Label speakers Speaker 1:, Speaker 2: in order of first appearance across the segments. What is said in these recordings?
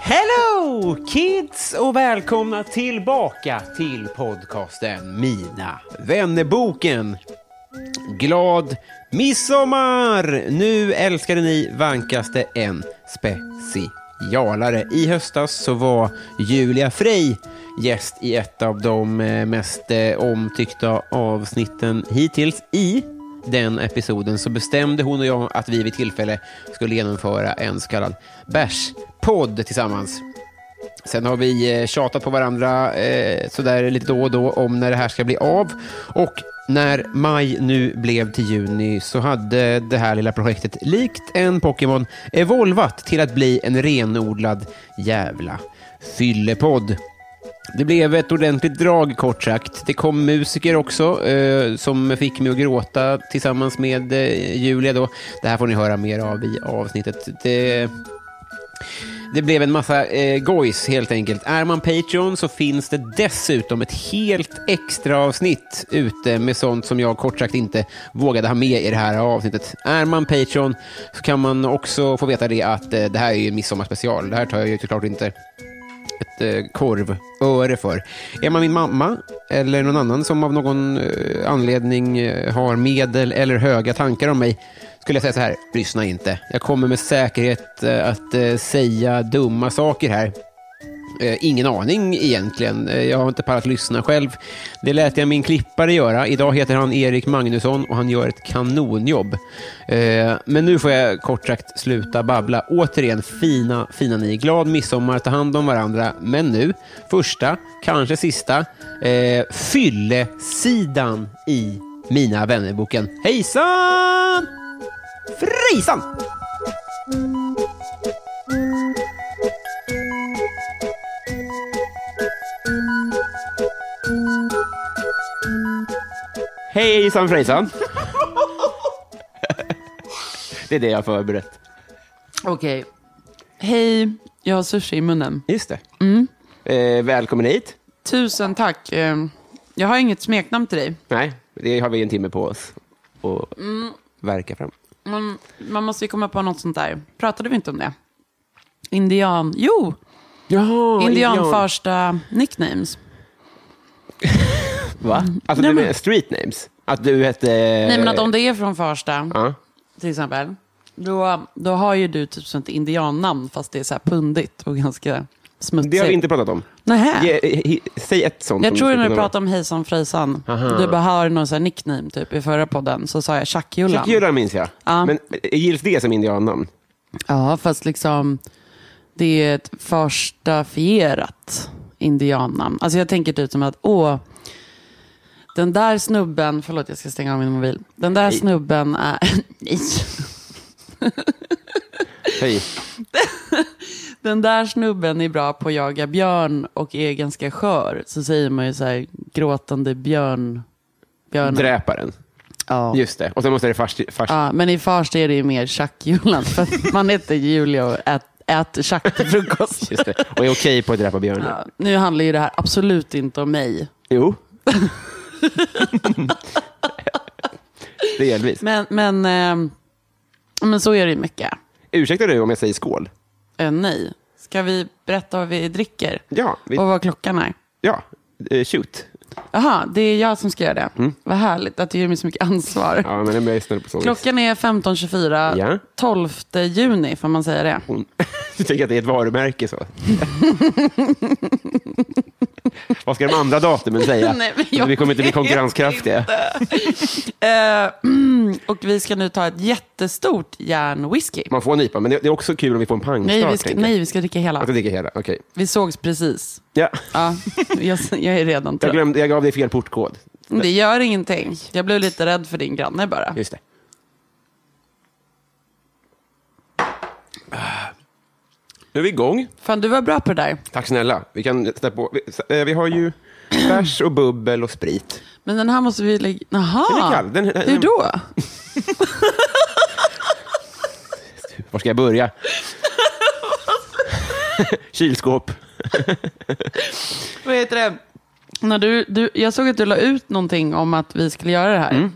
Speaker 1: Hello kids och välkomna tillbaka till podcasten Mina vännerboken. Glad midsommar! Nu älskade ni vankaste en specialare. I höstas så var Julia Frey gäst i ett av de eh, mest eh, omtyckta avsnitten hittills i den episoden så bestämde hon och jag att vi vid tillfälle skulle genomföra en så kallad bärspodd tillsammans. Sen har vi eh, tjatat på varandra eh, sådär lite då och då om när det här ska bli av. Och när maj nu blev till juni så hade det här lilla projektet likt en Pokémon evolvat till att bli en renodlad jävla fyllepodd. Det blev ett ordentligt drag kort sagt. Det kom musiker också eh, som fick mig att gråta tillsammans med eh, Julia. Då. Det här får ni höra mer av i avsnittet. Det, det blev en massa eh, gojs helt enkelt. Är man Patreon så finns det dessutom ett helt extra avsnitt ute med sånt som jag kort sagt inte vågade ha med i det här avsnittet. Är man Patreon så kan man också få veta det att eh, det här är ju en midsommarspecial. Det här tar jag ju såklart inte ett eh, korvöre för. Är man min mamma eller någon annan som av någon eh, anledning eh, har medel eller höga tankar om mig skulle jag säga så här, lyssna inte. Jag kommer med säkerhet eh, att eh, säga dumma saker här. Eh, ingen aning egentligen. Eh, jag har inte pallat lyssna själv. Det lät jag min klippare göra. Idag heter han Erik Magnusson och han gör ett kanonjobb. Eh, men nu får jag kort sagt sluta babbla. Återigen, fina, fina ni. Glad midsommar, ta hand om varandra. Men nu, första, kanske sista, eh, fyllesidan i Mina vännerboken. Hejsan! Frisan! Hejsan frejsan! Det är det jag har förberett.
Speaker 2: Okej. Hej, jag har sushi i munnen.
Speaker 1: Just det.
Speaker 2: Mm.
Speaker 1: Eh, välkommen hit.
Speaker 2: Tusen tack. Eh, Jag har inget smeknamn till dig.
Speaker 1: Nej, det har vi en timme på oss att
Speaker 2: Mm.
Speaker 1: verka fram.
Speaker 2: Man, man måste ju komma på något sånt där. Pratade vi inte om det? Indian... Jo!
Speaker 1: Jaha,
Speaker 2: Indian första nicknames.
Speaker 1: Va? Alltså
Speaker 2: Nej,
Speaker 1: du
Speaker 2: men-
Speaker 1: menar street names? Att du hette...
Speaker 2: Nej, men att om det är från första,
Speaker 1: Ja.
Speaker 2: till exempel, då, då har ju du typ sånt indiannamn, fast det är så här pundigt och ganska smutsigt.
Speaker 1: Det har vi inte pratat om.
Speaker 2: Nähä.
Speaker 1: Ge, he, säg ett sånt.
Speaker 2: Jag
Speaker 1: som
Speaker 2: tror
Speaker 1: skulle
Speaker 2: när du
Speaker 1: kunna
Speaker 2: pratade om hejsan frejsan, du bara har någon sån här nickname typ i förra podden, så sa jag
Speaker 1: vara-
Speaker 2: tjackjullan.
Speaker 1: Tjackjullan minns jag.
Speaker 2: Ja.
Speaker 1: Men eh, gills det som indiannamn?
Speaker 2: Ja, fast liksom det är ett förstafierat indiannamn. Alltså jag tänker typ som att, åh, den där snubben, förlåt jag ska stänga av min mobil. Den där snubben är, nej,
Speaker 1: Hej.
Speaker 2: den där snubben är bra på att jaga björn och är ganska skör. Så säger man ju så här, gråtande björn, björn.
Speaker 1: Dräparen.
Speaker 2: ja.
Speaker 1: Just det. Och sen måste det fars... fars
Speaker 2: ja, men i Farsta är det ju mer tjackjulan, för att man heter Julia och ät- äter tjack till frukost.
Speaker 1: Just det. Och är okej på att dräpa björnen.
Speaker 2: Ja, nu handlar ju det här absolut inte om mig.
Speaker 1: Jo. Delvis.
Speaker 2: Men, men, ehm, men så är det ju mycket.
Speaker 1: Ursäktar du om jag säger skål?
Speaker 2: Eh, nej. Ska vi berätta vad vi dricker?
Speaker 1: Ja, vi,
Speaker 2: Och vad klockan är?
Speaker 1: ja. Eh, shoot.
Speaker 2: Jaha, det är jag som ska göra det. Vad härligt att du ger mig så mycket ansvar.
Speaker 1: Mm. Ja, men jag är snäll på sånt.
Speaker 2: Klockan är 15.24,
Speaker 1: Ja.
Speaker 2: 12 juni, får man säga det?
Speaker 1: Du tänker att det är ett varumärke så? Vad ska de andra datumen säga? Alltså,
Speaker 2: Nej, men jag
Speaker 1: vi kommer inte bli
Speaker 2: vet
Speaker 1: konkurrenskraftiga.
Speaker 2: Eh, och vi ska nu ta ett jättestort järnwhisky.
Speaker 1: Man får en IPA, men det det är också kul om vi får en pangstart.
Speaker 2: Nej vi, ska,
Speaker 1: tänker jag.
Speaker 2: nej, vi ska dricka hela.
Speaker 1: Att jag dricker hela, okej.
Speaker 2: Vi sågs precis.
Speaker 1: Ja.
Speaker 2: Ja, jag, jag är redan
Speaker 1: Jag,
Speaker 2: trött.
Speaker 1: glömde, jag gav dig fel portkod.
Speaker 2: Det gör ingenting. Jag blev lite rädd för din granne bara.
Speaker 1: Just det. Nu är vi igång.
Speaker 2: Fan, du var bra på det där.
Speaker 1: Tack snälla. Vi, kan sätta på. Vi, eh, vi har ju bärs och bubbel och sprit.
Speaker 2: Men den här måste vi lägga... Jaha,
Speaker 1: Den är kall. Den- den-
Speaker 2: hur då?
Speaker 1: Var ska jag börja? Kylskåp.
Speaker 2: Vad heter det? När du, du, jag såg att du la ut någonting om att vi skulle göra det här.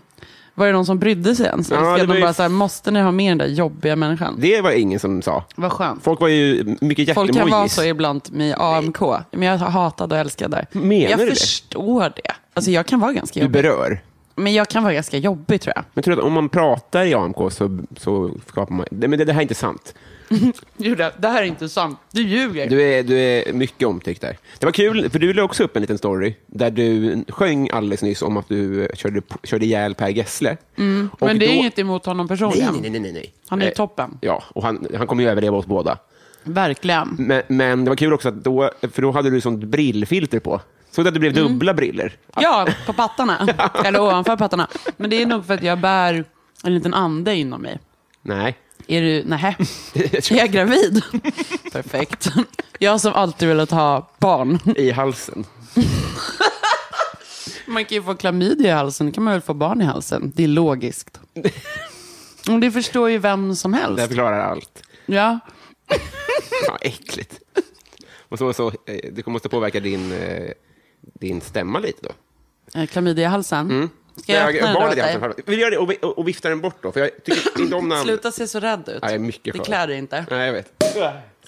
Speaker 2: Var det någon som brydde sig ens?
Speaker 1: Mm. Ja,
Speaker 2: Eller
Speaker 1: det
Speaker 2: skrev
Speaker 1: var
Speaker 2: de
Speaker 1: ju-
Speaker 2: bara så här, måste ni ha med den där jobbiga människan?
Speaker 1: Det var ingen som sa.
Speaker 2: Vad skönt.
Speaker 1: Folk var ju mycket
Speaker 2: Folk kan vara så
Speaker 1: hjärtemojis.
Speaker 2: ibland med AMK. Men jag hatade och älskade det.
Speaker 1: Menar
Speaker 2: jag
Speaker 1: du det?
Speaker 2: förstår det. Alltså jag kan vara ganska
Speaker 1: Du
Speaker 2: jobbig.
Speaker 1: berör.
Speaker 2: Men jag kan vara ganska jobbig tror jag.
Speaker 1: Men tror du att om man pratar i AMK så, så skapar man... Nej, Men det, det här är inte sant.
Speaker 2: Julia, det här är inte sant. Du ljuger.
Speaker 1: Du är, du är mycket omtyckt där. Det var kul, för du la också upp en liten story där du sjöng alldeles nyss om att du körde, körde ihjäl Per Gessle. Och
Speaker 2: Mm, men det är
Speaker 1: då-
Speaker 2: inget emot honom
Speaker 1: Nej,
Speaker 2: personligen.
Speaker 1: nej, nej, nej, nej.
Speaker 2: Han är ju
Speaker 1: Eh,
Speaker 2: toppen.
Speaker 1: Ja, och han, han kommer ju överleva oss båda.
Speaker 2: Verkligen.
Speaker 1: Men, men det var kul också, att då, för då hade du sånt brillfilter på. Såg du att det blev dubbla briller?
Speaker 2: Mm. Ja, på pattarna. Eller ovanför pattarna. Men det är nog för att jag bär en liten ande inom mig.
Speaker 1: Nej.
Speaker 2: Är du, nähä, är jag gravid? Perfekt. Jag som alltid velat ha barn.
Speaker 1: I halsen.
Speaker 2: Man kan ju få klamydia i halsen, då kan man väl få barn i halsen. Det är logiskt. Och Det förstår ju vem som
Speaker 1: Det här
Speaker 2: helst.
Speaker 1: förklarar allt.
Speaker 2: Ja.
Speaker 1: Fan, äckligt. Och så, så, eh, det måste påverka din, eh, din stämma lite då.
Speaker 2: Eh, Klamydia i halsen.
Speaker 1: Mm.
Speaker 2: Ska jag
Speaker 1: Jag,
Speaker 2: öppna
Speaker 1: jag,
Speaker 2: den
Speaker 1: var
Speaker 2: åt
Speaker 1: det
Speaker 2: dig?
Speaker 1: alltså, Vill göra det och, vi- och, och vifta den bort då? För jag tycker inte om namn.
Speaker 2: Sluta se så rädd ut.
Speaker 1: Nej, jag är mycket
Speaker 2: det
Speaker 1: skör.
Speaker 2: klär dig inte.
Speaker 1: Nej, jag vet.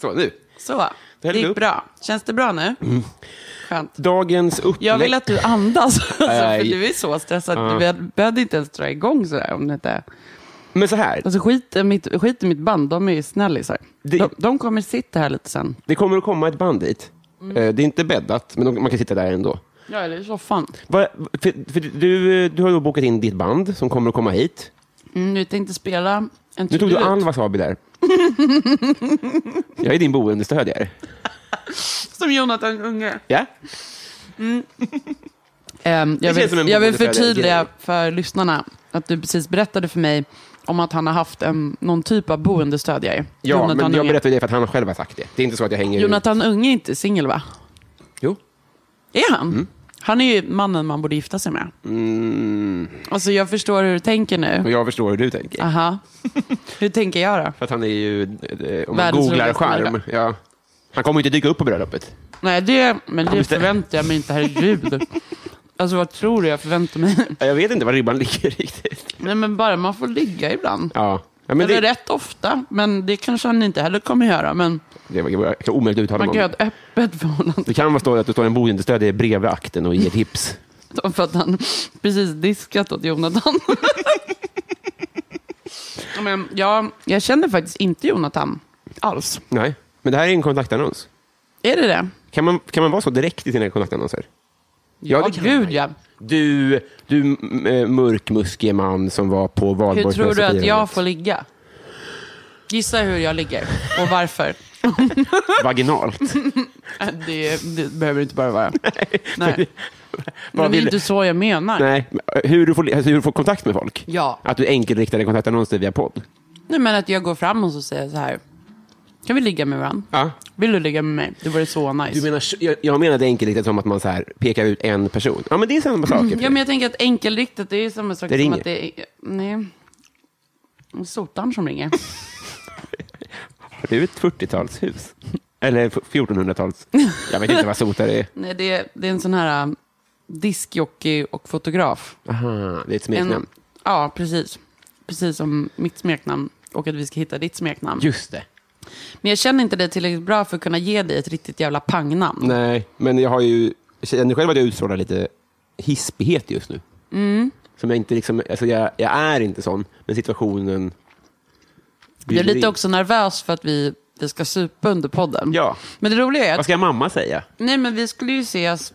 Speaker 1: Så, nu.
Speaker 2: Så,
Speaker 1: Det
Speaker 2: det
Speaker 1: häller
Speaker 2: gick
Speaker 1: upp.
Speaker 2: bra. Känns det bra nu?
Speaker 1: Mm.
Speaker 2: Skönt.
Speaker 1: Dagens upplägg.
Speaker 2: Jag vill att du andas, alltså, för
Speaker 1: Aj.
Speaker 2: du är så stressad. Du be- behövde inte ens dra igång sådär om det inte...
Speaker 1: Men så här,
Speaker 2: Alltså skit, i mitt, skit i mitt band, de är ju snällisar.
Speaker 1: Det-
Speaker 2: De, de kommer sitta här lite sen.
Speaker 1: det kommer att komma ett band dit.
Speaker 2: Mm.
Speaker 1: Eh, Det är inte bäddat, men de- man kan sitta där ändå.
Speaker 2: Ja, eller i soffan.
Speaker 1: Va- För, för du, du har då bokat in ditt band som kommer att komma hit.
Speaker 2: Mm, nu tänkte spela en
Speaker 1: Nu tog du
Speaker 2: tribut.
Speaker 1: all wasabi där. jag är din boendestödjare.
Speaker 2: Som Jonathan Unge.
Speaker 1: Ja?
Speaker 2: Ehm, jag,
Speaker 1: känns som en
Speaker 2: vill, jag vill
Speaker 1: bonusfärdig
Speaker 2: förtydliga
Speaker 1: grej.
Speaker 2: för lyssnarna att du precis berättade för mig om att han har haft en, någon typ av boendestödjare.
Speaker 1: Ja, men jag
Speaker 2: Unge.
Speaker 1: berättar det för att han själv har sagt det. Det är inte så att jag hänger ut.
Speaker 2: Jonathan Unge är inte singel va?
Speaker 1: Jo.
Speaker 2: Är han? Han är ju mannen man borde gifta sig med. Alltså jag förstår hur du tänker
Speaker 1: Mm, Och
Speaker 2: nu.
Speaker 1: jag förstår hur du tänker.
Speaker 2: Aha. Hur tänker jag då?
Speaker 1: För att han är ju, eh, om man
Speaker 2: Världens
Speaker 1: googlar
Speaker 2: roligaste
Speaker 1: skärm.
Speaker 2: människa.
Speaker 1: Ja. Han kommer ju inte dyka upp på bröllopet.
Speaker 2: Nej, det, men det
Speaker 1: Just det.
Speaker 2: förväntar jag mig inte, herregud. Alltså vad tror du jag förväntar mig?
Speaker 1: Ja, Jag vet inte var ribban ligger riktigt.
Speaker 2: Nej men bara man får ligga ibland.
Speaker 1: Ja. Ja, men
Speaker 2: Eller
Speaker 1: det,
Speaker 2: rätt ofta, men det kanske han inte heller kommer göra. Men
Speaker 1: det var jag kan omöjligt uttala
Speaker 2: man kan
Speaker 1: mig
Speaker 2: ju ha
Speaker 1: om.
Speaker 2: ett öppet förhållande
Speaker 1: Det kan vara så att det står en boendestödjare bredvid akten och ger tips.
Speaker 2: för att han precis diskat åt Jonathan. Ja, men jag, jag känner faktiskt inte Jonathan alls.
Speaker 1: Nej, men det här är en kontaktannons.
Speaker 2: Är det det?
Speaker 1: Kan man, kan man vara så direkt i sina kontaktannonser? Ja, det kan
Speaker 2: gud
Speaker 1: man.
Speaker 2: ja.
Speaker 1: Du, du m- eh, mörkmuskige man som var på valborgsmässofirandet.
Speaker 2: Hur tror du att jag får ligga? Gissa hur jag ligger och varför.
Speaker 1: Vaginalt.
Speaker 2: Det, det behöver det inte bara vara. Nej. Men
Speaker 1: vill
Speaker 2: det är
Speaker 1: du-
Speaker 2: inte så jag menar. Nej.
Speaker 1: Nej, men hur du, får, li- alltså, hur du får kontakt med folk?
Speaker 2: Ja.
Speaker 1: Att du enkelriktade kontaktannonser via podd?
Speaker 2: men att jag går fram och så säger så här. Kan vi ligga med varandra?
Speaker 1: Ja.
Speaker 2: Vill du ligga med mig? Det vore så nice. Mm,
Speaker 1: Du menar, jag, jag menade enkelriktat som att man så här pekar ut en person. Ja, men det är samma sak.
Speaker 2: Mm, Ja, men jag tänker att enkelriktat, det är ju samma sak
Speaker 1: Det
Speaker 2: som
Speaker 1: ringer.
Speaker 2: att det är... Nej. Det är Sotan som ringer.
Speaker 1: Har du ett 40-talshus? Eller f- 1400-tals? Jag vet inte vad sotare är.
Speaker 2: Nej, det, är- det är en sån här um, diskjockey och fotograf.
Speaker 1: Aha, det är ett
Speaker 2: En,
Speaker 1: smeknamn.
Speaker 2: ja, precis. Precis som mitt smeknamn och att vi ska hitta ditt smeknamn.
Speaker 1: Just det.
Speaker 2: Men jag känner inte dig tillräckligt bra för att kunna ge dig ett riktigt jävla pangnamn.
Speaker 1: Nej, men jag har ju... Jag känner själv att jag utstrålar lite hispighet just nu.
Speaker 2: Mm.
Speaker 1: Som jag, inte liksom, alltså jag, jag är inte sån, men situationen...
Speaker 2: Jag är
Speaker 1: bjuder in.
Speaker 2: lite också nervös för att vi, vi ska supa under podden.
Speaker 1: Ja.
Speaker 2: Men det roliga är att
Speaker 1: Vad ska mamma säga?
Speaker 2: Nej, men vi skulle ju ses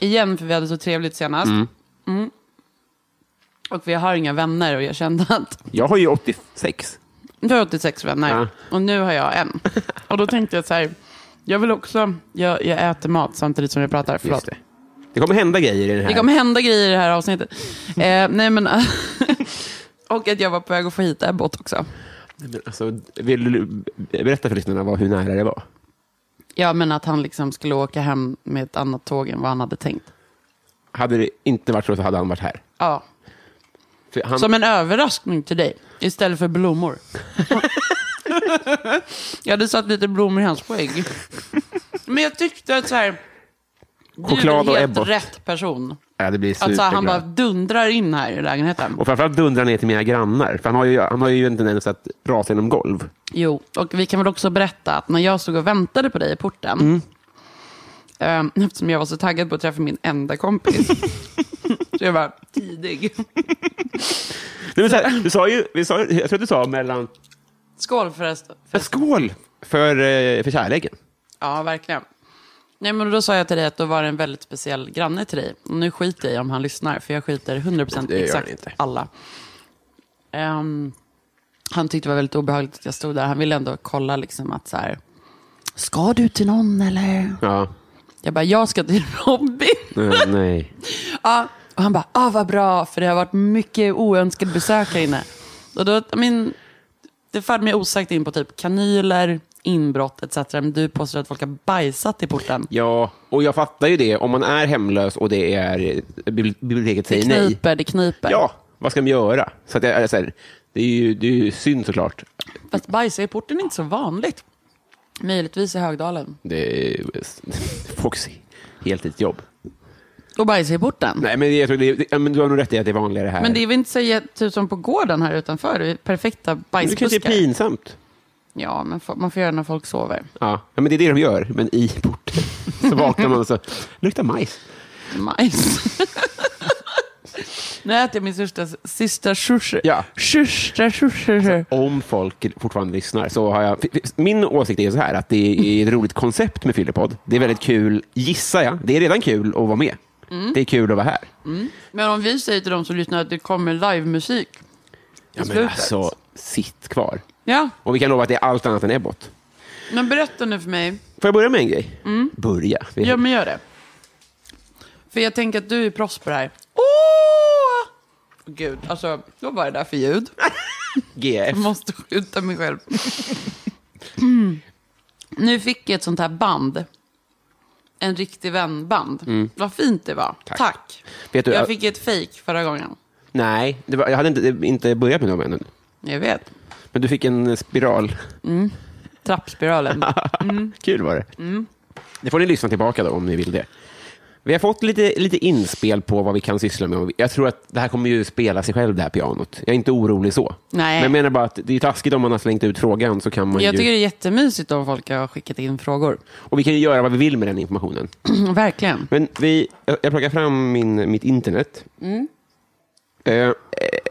Speaker 2: igen för vi hade så trevligt senast. Mm. Och vi har inga vänner och jag kände att
Speaker 1: Jag har ju 86.
Speaker 2: du har 86 vänner
Speaker 1: Ja.
Speaker 2: och nu har jag en. Och då tänkte jag så här, jag vill också, jag, jag äter mat samtidigt som jag pratar. Förlåt.
Speaker 1: Just det. det kommer hända grejer i den här.
Speaker 2: Det kommer hända grejer i det här avsnittet. Eh, nej men, och att jag var på väg att få hit Ebbot också.
Speaker 1: Men Alltså, vill du berätta för lyssnarna vad, hur nära det var?
Speaker 2: Ja, men att han liksom skulle åka hem med ett annat tåg än vad han hade tänkt.
Speaker 1: Hade det inte varit så, så hade han varit här.
Speaker 2: Ja,
Speaker 1: För han,
Speaker 2: Som en överraskning till dig, istället för blommor. jag hade satt lite blommor i hans skägg. Men jag tyckte att så här, du
Speaker 1: Choklad
Speaker 2: är
Speaker 1: och
Speaker 2: helt
Speaker 1: Ebbot.
Speaker 2: rätt person.
Speaker 1: ja, det blir
Speaker 2: Att så här, Alltså, han
Speaker 1: superglad.
Speaker 2: bara dundrar in här i lägenheten.
Speaker 1: Och framförallt dundrar ner till mina grannar. För han har ju, han har ju en tendens att rasa genom golv.
Speaker 2: Jo, och vi kan väl också berätta att när jag stod och väntade på dig i porten,
Speaker 1: Mm.
Speaker 2: eh, eftersom jag var så taggad på att träffa min enda kompis, så jag var tidig.
Speaker 1: Nej, men så här, du sa ju, vi sa, jag tror att du sa mellan...
Speaker 2: Skål förresten.
Speaker 1: Ja, Skål för, eh, för kärleken.
Speaker 2: Ja, verkligen. Nej, men då sa jag till dig att då var det en väldigt speciell granne till dig. Och nu skiter jag i om han lyssnar, för jag skiter 100%
Speaker 1: Det gör
Speaker 2: exakt
Speaker 1: han inte.
Speaker 2: alla. Ehm, han tyckte det var väldigt obehagligt att jag stod där. Han ville ändå kolla liksom att så här, ska du till någon eller?
Speaker 1: Ja.
Speaker 2: Jag bara, jag ska till Robin.
Speaker 1: Nej, nej.
Speaker 2: Ja. Och han bara, ah, vad bra, för det har varit mycket oönskade besök här inne. Och då, I mean, det förde mig osagt in på typ kanyler, inbrott etc. Men du påstår att folk har bajsat i porten.
Speaker 1: Ja, och jag fattar ju det. Om man är hemlös och det är eh, bibli- biblioteket
Speaker 2: Det
Speaker 1: säger nej.
Speaker 2: kniper, det kniper.
Speaker 1: Ja, vad ska man göra? Så att jag, är så här, det, är ju, det är ju synd såklart.
Speaker 2: Fast bajsa i porten är inte så vanligt. Möjligtvis i Högdalen.
Speaker 1: Det är folks heltidsjobb.
Speaker 2: Och bajsa i porten?
Speaker 1: Nej, men, jag tror det, det, ja, men du har nog rätt i att det är vanligare här.
Speaker 2: Men det är väl inte så jä- typ som på gården här utanför? Det är perfekta
Speaker 1: Men det kanske är
Speaker 2: bajsbuskar.
Speaker 1: pinsamt.
Speaker 2: ja, men f- man får göra när folk sover.
Speaker 1: Ja. ja, men det är det de gör, men i porten. Så vaknar man och så luktar majs.
Speaker 2: Majs. nu äter jag min sista, sista sushi.
Speaker 1: Ja.
Speaker 2: Sista sushi.
Speaker 1: Om folk fortfarande lyssnar så har jag... f- f- Min åsikt är så här att det är ett roligt koncept med Fyllepodd. Det är väldigt kul, gissar jag. Det är redan kul att vara med. Det är kul att vara här.
Speaker 2: Mm. Men om vi säger till de som lyssnar att det kommer livemusik.
Speaker 1: Ja, men
Speaker 2: Slutet.
Speaker 1: alltså, sitt kvar.
Speaker 2: Ja,
Speaker 1: Och vi kan lova att det är allt annat än Ebbot.
Speaker 2: men berätta nu för mig.
Speaker 1: Får jag börja med en grej? Börja? Vi-
Speaker 2: Mm. Ja, men gör det. För jag tänker att du är proffs på det här. Åh! Gud, alltså, vad var det där för ljud?
Speaker 1: GF.
Speaker 2: Jag måste skjuta mig själv. Nu fick jag ett sånt här band. En riktig vän-band. Vad fint det var.
Speaker 1: Mm. Tack.
Speaker 2: Tack.
Speaker 1: Vet du,
Speaker 2: jag
Speaker 1: jag-
Speaker 2: fick ett fake förra gången.
Speaker 1: Nej, det var, jag hade inte, inte börjat med dem ännu.
Speaker 2: Jag vet.
Speaker 1: Men du fick en spiral.
Speaker 2: Trappspiralen.
Speaker 1: Kul var det.
Speaker 2: Mm.
Speaker 1: Det får ni lyssna tillbaka då om ni vill det. Vi har fått lite, lite inspel på vad vi kan syssla med. Jag tror att det här kommer ju spela sig själv, det här pianot. Jag är inte orolig så.
Speaker 2: Nej.
Speaker 1: Men jag menar bara att det är taskigt om man har slängt ut frågan så kan man
Speaker 2: jag
Speaker 1: ju...
Speaker 2: tycker det är jättemysigt om folk har skickat in frågor.
Speaker 1: Och vi kan ju göra vad vi vill med den informationen.
Speaker 2: Verkligen.
Speaker 1: Men vi, jag jag plockar fram min, mitt internet.
Speaker 2: Mm.
Speaker 1: Eh,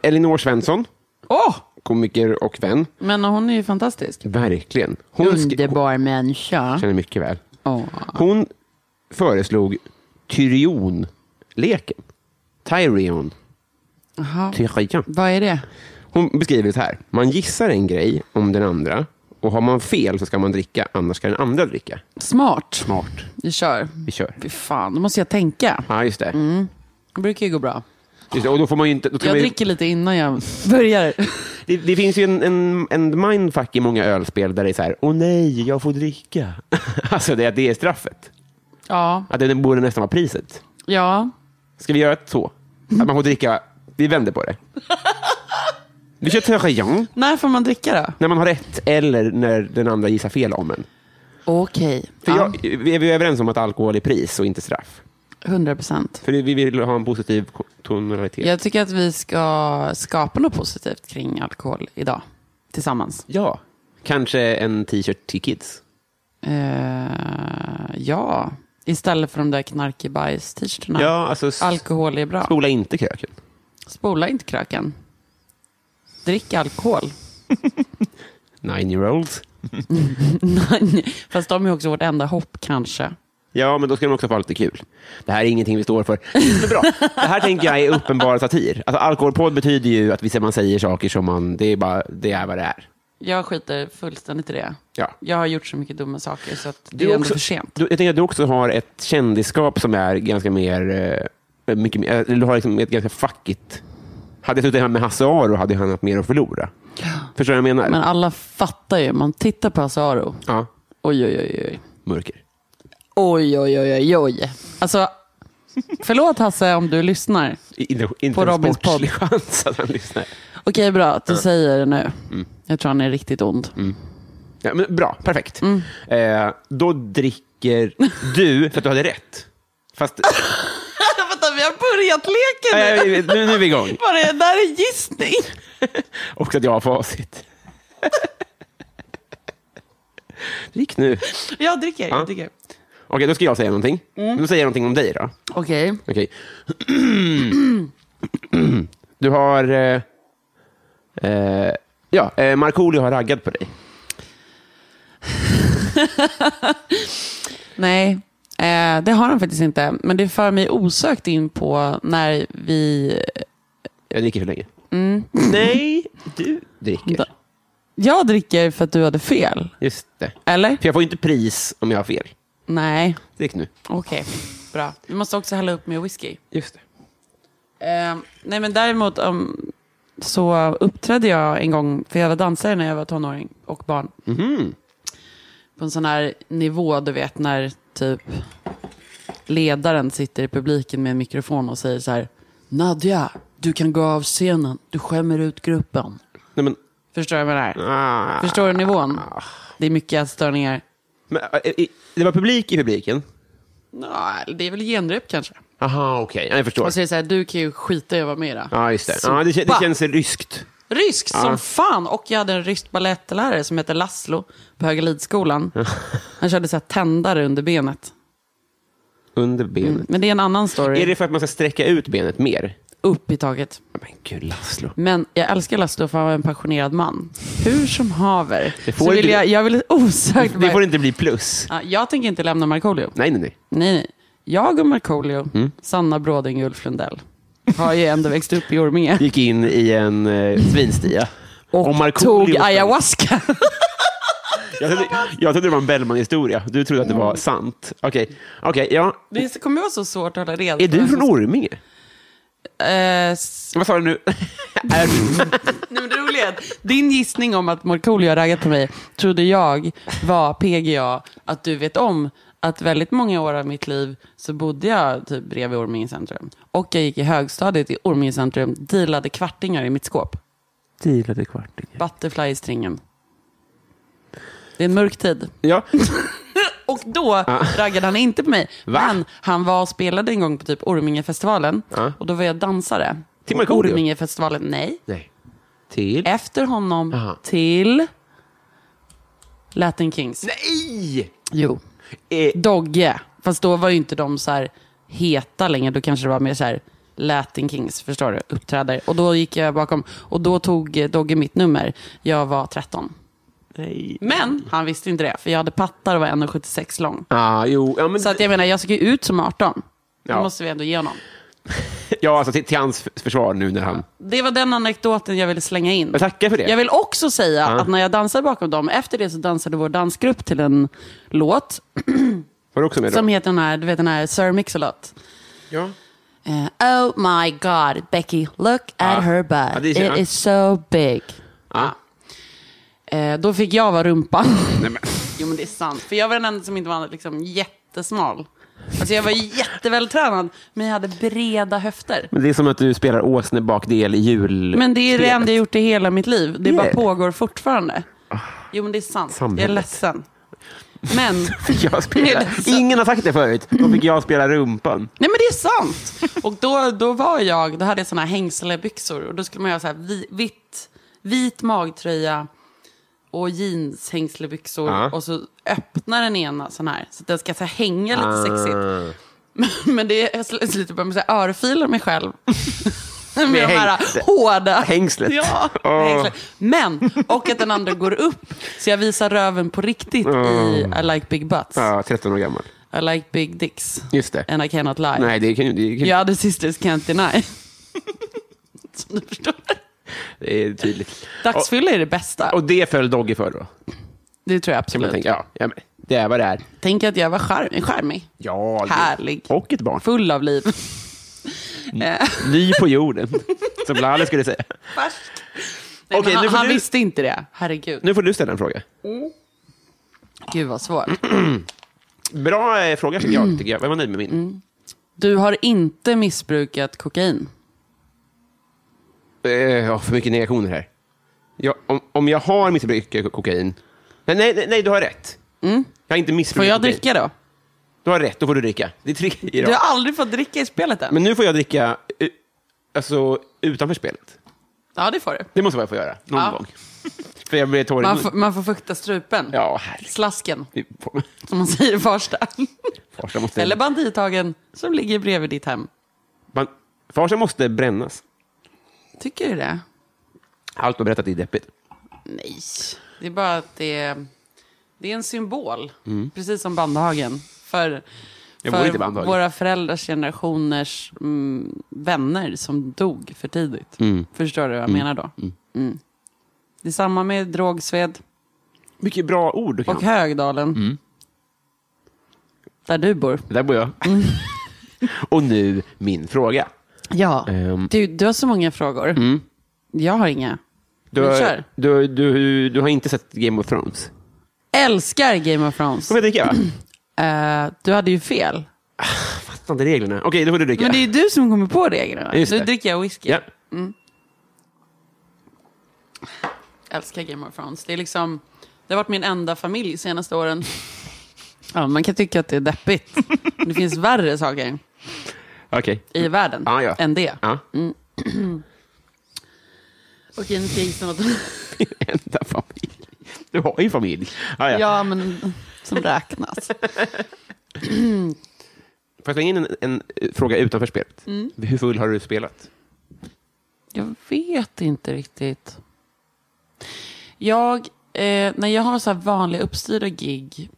Speaker 1: Elinor Svensson,
Speaker 2: Åh!
Speaker 1: komiker och vän.
Speaker 2: men hon är ju fantastisk.
Speaker 1: Verkligen. Hon, skri- hon
Speaker 2: Underbar människa.
Speaker 1: känner mycket väl.
Speaker 2: Åh.
Speaker 1: Hon föreslog Tyrion-leken. Tyrion.
Speaker 2: Jaha.
Speaker 1: Tyrion.
Speaker 2: Vad är det?
Speaker 1: Hon beskriver det så här. Man gissar en grej om den andra och har man fel så ska man dricka, annars ska den andra dricka.
Speaker 2: Smart.
Speaker 1: Smart.
Speaker 2: Vi kör.
Speaker 1: Vi kör.
Speaker 2: Fy fan, då måste jag tänka.
Speaker 1: Ja, just det.
Speaker 2: Det brukar ju gå bra.
Speaker 1: Just det. Och då får man ju inte... Då ska
Speaker 2: Mm. Jag
Speaker 1: man ju,
Speaker 2: dricker lite innan jag börjar.
Speaker 1: det, det finns ju en, en, en mindfuck i många ölspel där det är så här, åh nej, jag får dricka. alltså, det, det är straffet.
Speaker 2: Ja,
Speaker 1: Att det borde nästan vara priset.
Speaker 2: ja.
Speaker 1: Ska vi göra ett så? Att man får dricka... Vi vänder på det. Vi kör Tyrion.
Speaker 2: När får man dricka då?
Speaker 1: När man har rätt eller när den andra gissar fel om en.
Speaker 2: Okej.
Speaker 1: För
Speaker 2: Ja,
Speaker 1: jag, vi är vi är överens om att alkohol är pris och inte straff.
Speaker 2: 100 procent.
Speaker 1: För vi vill ha en positiv ko- tonalitet.
Speaker 2: Jag tycker att vi ska skapa något positivt kring alkohol idag. Tillsammans.
Speaker 1: Ja. Kanske en t-shirt till kids.
Speaker 2: Eh, ja, Istället för de där knarkebajs-t-shirtarna.
Speaker 1: Ja, alltså s-
Speaker 2: Alkohol är bra.
Speaker 1: Spola inte kröken.
Speaker 2: Spola inte kröken. Drick alkohol.
Speaker 1: Nine year olds.
Speaker 2: Nej, Fast de är också vårt enda hopp kanske.
Speaker 1: Ja, men då ska de också få ha lite kul. Det här är ingenting vi står för. Det är bra. Det här tänker jag är uppenbar satir. Alltså, alkoholpodd betyder ju att vi- man säger saker som man... Det är, bara, det är vad det är.
Speaker 2: Jag skiter fullständigt i det.
Speaker 1: Ja.
Speaker 2: Jag har gjort så mycket dumma saker så att det är ändå för sent.
Speaker 1: Du, jag tänker att du också har ett kändisskap som är ganska mer... eh, Mycket, mer- eller du har liksom ett ganska fackigt... Hade jag suttit hemma med Hasse Aro hade han haft mer att förlora. Förstår du vad jag menar?
Speaker 2: Men alla fattar ju. Man tittar på Hasse Aro.
Speaker 1: Ja,
Speaker 2: Oj, oj, oj, oj.
Speaker 1: mörker.
Speaker 2: Oj, oj, oj, oj, oj. Alltså, förlåt Hasse om du lyssnar.
Speaker 1: I- Inte, inte
Speaker 2: På
Speaker 1: en
Speaker 2: Robins
Speaker 1: sportslig chans att han lyssnar.
Speaker 2: Okej, bra att du säger det nu. Jag tror han är riktigt ond.
Speaker 1: Ja, men bra, perfekt.
Speaker 2: Mm.
Speaker 1: Eh, då dricker du för att du hade rätt. Fast
Speaker 2: Vänta, vi har börjat leken
Speaker 1: eh, nu, nu är vi igång.
Speaker 2: Var det där är gissning?
Speaker 1: Och att jag har facit. Drick nu.
Speaker 2: Jag dricker.
Speaker 1: Ja. Okej, då ska jag säga någonting.
Speaker 2: Mm.
Speaker 1: Då säger jag någonting om dig då.
Speaker 2: Okej.
Speaker 1: Okej. Du har... Eh, eh, ja, eh, Markoolio har raggat på dig.
Speaker 2: Nej, eh, det har han faktiskt inte. Men det för mig osökt in på när vi...
Speaker 1: Jag dricker för länge.
Speaker 2: Mm.
Speaker 1: Nej, du dricker.
Speaker 2: Da- Jag dricker för att du hade fel.
Speaker 1: Just det.
Speaker 2: Eller?
Speaker 1: För jag får ju inte pris om jag har fel.
Speaker 2: Nej.
Speaker 1: Drick nu.
Speaker 2: Okej, bra. Vi måste också hälla upp med whisky.
Speaker 1: Just det.
Speaker 2: Eh, nej, men däremot um, så uppträdde jag en gång, för jag var dansare när jag var tonåring och barn. På en sån här nivå, du vet, när typ ledaren sitter i publiken med en mikrofon och säger så här, Nadja, du kan gå av scenen, du skämmer ut gruppen.
Speaker 1: Nej, men,
Speaker 2: Förstår du vad jag menar?
Speaker 1: ah.
Speaker 2: Förstår du nivån? Det är mycket störningar.
Speaker 1: men, eh, eh, det var publik i publiken?
Speaker 2: Nå, det är väl genrep kanske.
Speaker 1: Aha, okej. Ja, Jag förstår.
Speaker 2: Och så är det så här, du kan ju skita i att vara med i det.
Speaker 1: Ja, just det. Ja, det, kän- det
Speaker 2: Sopa.
Speaker 1: känns ryskt.
Speaker 2: Rysk
Speaker 1: Ja.
Speaker 2: som fan. Och jag hade en rysk balettlärare som hette Laszlo på Högalidsskolan. Han körde så här tändare under benet.
Speaker 1: Under benet.
Speaker 2: Mm, Men det är en annan story.
Speaker 1: Är det för att man ska sträcka ut benet mer?
Speaker 2: Upp i taget.
Speaker 1: Men gud, Laszlo.
Speaker 2: Men jag älskar Laszlo för han var en passionerad man. Hur som haver.
Speaker 1: Det får
Speaker 2: Så vill
Speaker 1: inte-
Speaker 2: jag, jag vill osökt...
Speaker 1: Det får inte bli plus.
Speaker 2: Ja, jag tänker inte lämna Markoolio.
Speaker 1: Nej, nej, nej.
Speaker 2: Nej, nej. Jag och Markoolio,
Speaker 1: Mm.
Speaker 2: Sanna Bråding och Ulf Lundell, har ju ändå växt upp i Orminge.
Speaker 1: Gick in i en eh, svinstia.
Speaker 2: Och
Speaker 1: Markoolio
Speaker 2: tog
Speaker 1: sprang-
Speaker 2: ayahuasca.
Speaker 1: Jag trodde, jag trodde det var en Bellman-historia. Du trodde att det var sant. Okej, okej, ja.
Speaker 2: Det kommer vara så svårt att hålla reda på.
Speaker 1: Är du från Orminge?
Speaker 2: Eh, s-
Speaker 1: Vad sa du nu? är du?
Speaker 2: Nej, men det roliga är att din gissning om att Markoolio har raggat på mig trodde jag var PGA att du vet om att väldigt många år av mitt liv så bodde jag typ bredvid Orminge centrum. Och jag gick i högstadiet i Orminge centrum, dealade kvartingar i mitt skåp.
Speaker 1: Dealade kvartingen.
Speaker 2: Butterfly i stringen. Det är en mörk tid.
Speaker 1: Ja,
Speaker 2: Och då raggade han inte på mig.
Speaker 1: Va?
Speaker 2: Men han var och spelade en gång på typ Ormingefestivalen.
Speaker 1: Ja.
Speaker 2: Och då var jag dansare.
Speaker 1: Till
Speaker 2: På
Speaker 1: Markoolio?
Speaker 2: Ormingefestivalen, nej.
Speaker 1: nej. Till?
Speaker 2: Efter honom
Speaker 1: Aha.
Speaker 2: till Latin Kings.
Speaker 1: Nej!
Speaker 2: Jo.
Speaker 1: Eh,
Speaker 2: Dogge. Fast då var ju inte de så här heta längre. Då kanske det var mer så här Latin Kings, förstår du? Uppträdare. Och då gick jag bakom. Och då tog eh, Dogge mitt nummer. Jag var 13.
Speaker 1: nej.
Speaker 2: Men han visste inte det. För jag hade pattar och var 1,76 lång.
Speaker 1: Ah, jo, ja, men,
Speaker 2: Så att jag menar, jag såg ju ut som 18. Det
Speaker 1: Ja.
Speaker 2: måste vi ändå ge honom.
Speaker 1: ja, alltså, till, till hans försvar nu när han...
Speaker 2: Det var den anekdoten jag ville slänga in.
Speaker 1: Jag tackar för det.
Speaker 2: Jag vill också säga att när jag dansade bakom dem, efter det så dansade vår dansgrupp till en låt
Speaker 1: Var du också med då?
Speaker 2: som heter den här, du vet den här Sir Mix-a-Lot.
Speaker 1: Ja.
Speaker 2: Eh, oh my god, Becky, look at her butt.
Speaker 1: Ja, det är-
Speaker 2: It is so big.
Speaker 1: Ah.
Speaker 2: Eh, då fick jag vara rumpan.
Speaker 1: Nej, men.
Speaker 2: Jo men det är sant. För jag var den enda som inte var liksom, jättesmal. Alltså jag var jättevältränad, men jag hade breda höfter.
Speaker 1: men det är som att du spelar åsnebakdel i jul...
Speaker 2: Men det är det enda jag gjort i hela mitt liv. Det
Speaker 1: Det är
Speaker 2: bara
Speaker 1: det.
Speaker 2: pågår fortfarande. Jo men det är sant. Jag
Speaker 1: Samhället.
Speaker 2: är ledsen. Men,
Speaker 1: Jag
Speaker 2: Det
Speaker 1: spelar.
Speaker 2: är så-
Speaker 1: Ingen har sagt det förut. Då fick jag spela rumpan.
Speaker 2: nej men det är sant. Och då, då var jag, då hade jag sådana här hängslebyxor och då skulle man göra så här vi, vitt, vit magtröja och jeanshängslebyxor
Speaker 1: Ja.
Speaker 2: och så öppnar den ena sån här. Så att den ska så här, hänga lite
Speaker 1: Ah.
Speaker 2: sexigt. Men, men det är jag sl- slutar bara med att örfila mig själv. med de här
Speaker 1: hängslet.
Speaker 2: hårda...
Speaker 1: Hängslet.
Speaker 2: Ja, med
Speaker 1: Åh.
Speaker 2: hängslet. Men, och att den andra går upp. Så jag visar röven på riktigt i I like big butts.
Speaker 1: Ja, 13 år gammal.
Speaker 2: I like big dicks.
Speaker 1: Just det.
Speaker 2: And I cannot lie.
Speaker 1: Nej, det kan ju... Det, kan,
Speaker 2: Your other sisters can't deny. Som du förstår.
Speaker 1: det är tydligt.
Speaker 2: Dagsfylla är det bästa.
Speaker 1: Och det föll Doggy för då?
Speaker 2: det tror jag
Speaker 1: Kan man
Speaker 2: absolut.
Speaker 1: tänka. Ja, ja men, det är vad det är.
Speaker 2: Tänk att jag var charm- charmig.
Speaker 1: Ja, det-
Speaker 2: Härlig.
Speaker 1: Och ett barn.
Speaker 2: Full av liv.
Speaker 1: Ny på jorden, som Laleh skulle säga.
Speaker 2: Nej,
Speaker 1: Okej,
Speaker 2: men
Speaker 1: nu
Speaker 2: han
Speaker 1: får
Speaker 2: han
Speaker 1: du-
Speaker 2: visste inte det. Herregud.
Speaker 1: Nu får du ställa en fråga.
Speaker 2: Gud vad svårt.
Speaker 1: Bra eh, fråga, tycker jag. Tycker jag. Vem var nöjd med min?
Speaker 2: Mm. Du har inte missbrukat kokain.
Speaker 1: Eh, ja, för mycket negationer här. Jag, om, om jag har missbrukat ko- kokain... Nej, nej, nej, nej, du har rätt. Jag har inte
Speaker 2: Mm. Får
Speaker 1: missbrukat
Speaker 2: jag
Speaker 1: kokain.
Speaker 2: dricka då?
Speaker 1: Du har rätt, då får du dricka. Det är tre i
Speaker 2: Du
Speaker 1: rad.
Speaker 2: har aldrig fått dricka i spelet än.
Speaker 1: Men nu får jag dricka eh, alltså, utanför spelet.
Speaker 2: Ja, det får du.
Speaker 1: Det måste jag få göra, någon
Speaker 2: Ja.
Speaker 1: gång. För jag blir torr i
Speaker 2: Man
Speaker 1: munnen.
Speaker 2: får, man får fukta strupen.
Speaker 1: Ja, herregud.
Speaker 2: Slasken,
Speaker 1: Vi får-
Speaker 2: som man säger i Farsta.
Speaker 1: Farsan måste...
Speaker 2: Eller bandithagen som ligger bredvid ditt hem.
Speaker 1: man, farsan måste brännas.
Speaker 2: Tycker du det?
Speaker 1: Allt du har berättat är deppigt.
Speaker 2: Nej, det är bara att det är, det är en symbol. Precis som Bandhagen. För,
Speaker 1: Mm. Jag bor inte i
Speaker 2: för
Speaker 1: Bandhagen.
Speaker 2: våra föräldrars generationers mm, vänner som dog för tidigt.
Speaker 1: Mm.
Speaker 2: Förstår du vad jag menar då? Mm. Det är samma med Drogsved
Speaker 1: Mycket bra ord du kan.
Speaker 2: och Högdalen.
Speaker 1: Mm.
Speaker 2: Där du bor.
Speaker 1: Där bor jag.
Speaker 2: Mm.
Speaker 1: och nu min fråga.
Speaker 2: Ja.
Speaker 1: Ehm. Mm.
Speaker 2: Du, du har så många frågor. Jag har inga.
Speaker 1: Du
Speaker 2: Men
Speaker 1: har,
Speaker 2: kör.
Speaker 1: du, du, du har inte sett Game of Thrones?
Speaker 2: Älskar Game of Thrones.
Speaker 1: Då får jag dricka, va?
Speaker 2: Eh, du hade ju fel.
Speaker 1: Fattar inte reglerna. Okej, då får du dricka.
Speaker 2: Men det är ju du som kommer på reglerna.
Speaker 1: Just
Speaker 2: Nu
Speaker 1: det.
Speaker 2: dricker jag whisky.
Speaker 1: ja.
Speaker 2: älskar Game of Thrones. Det, är liksom, det har varit min enda familj de senaste åren. Ja, man kan tycka att det är deppigt. Men det finns värre saker
Speaker 1: Okej.
Speaker 2: i världen
Speaker 1: Ja, ja.
Speaker 2: än det.
Speaker 1: Ja.
Speaker 2: Okej, nu ska jag gissa något.
Speaker 1: Min enda familj. Du har ju familj. Ah, ja.
Speaker 2: Ja, men som räknas.
Speaker 1: Får jag slänga in en, en eh, fråga utanför spelet?
Speaker 2: Mm.
Speaker 1: Hur full har du spelat?
Speaker 2: Jag vet inte riktigt. Jag, eh, när jag har så här vanliga uppstyrda gig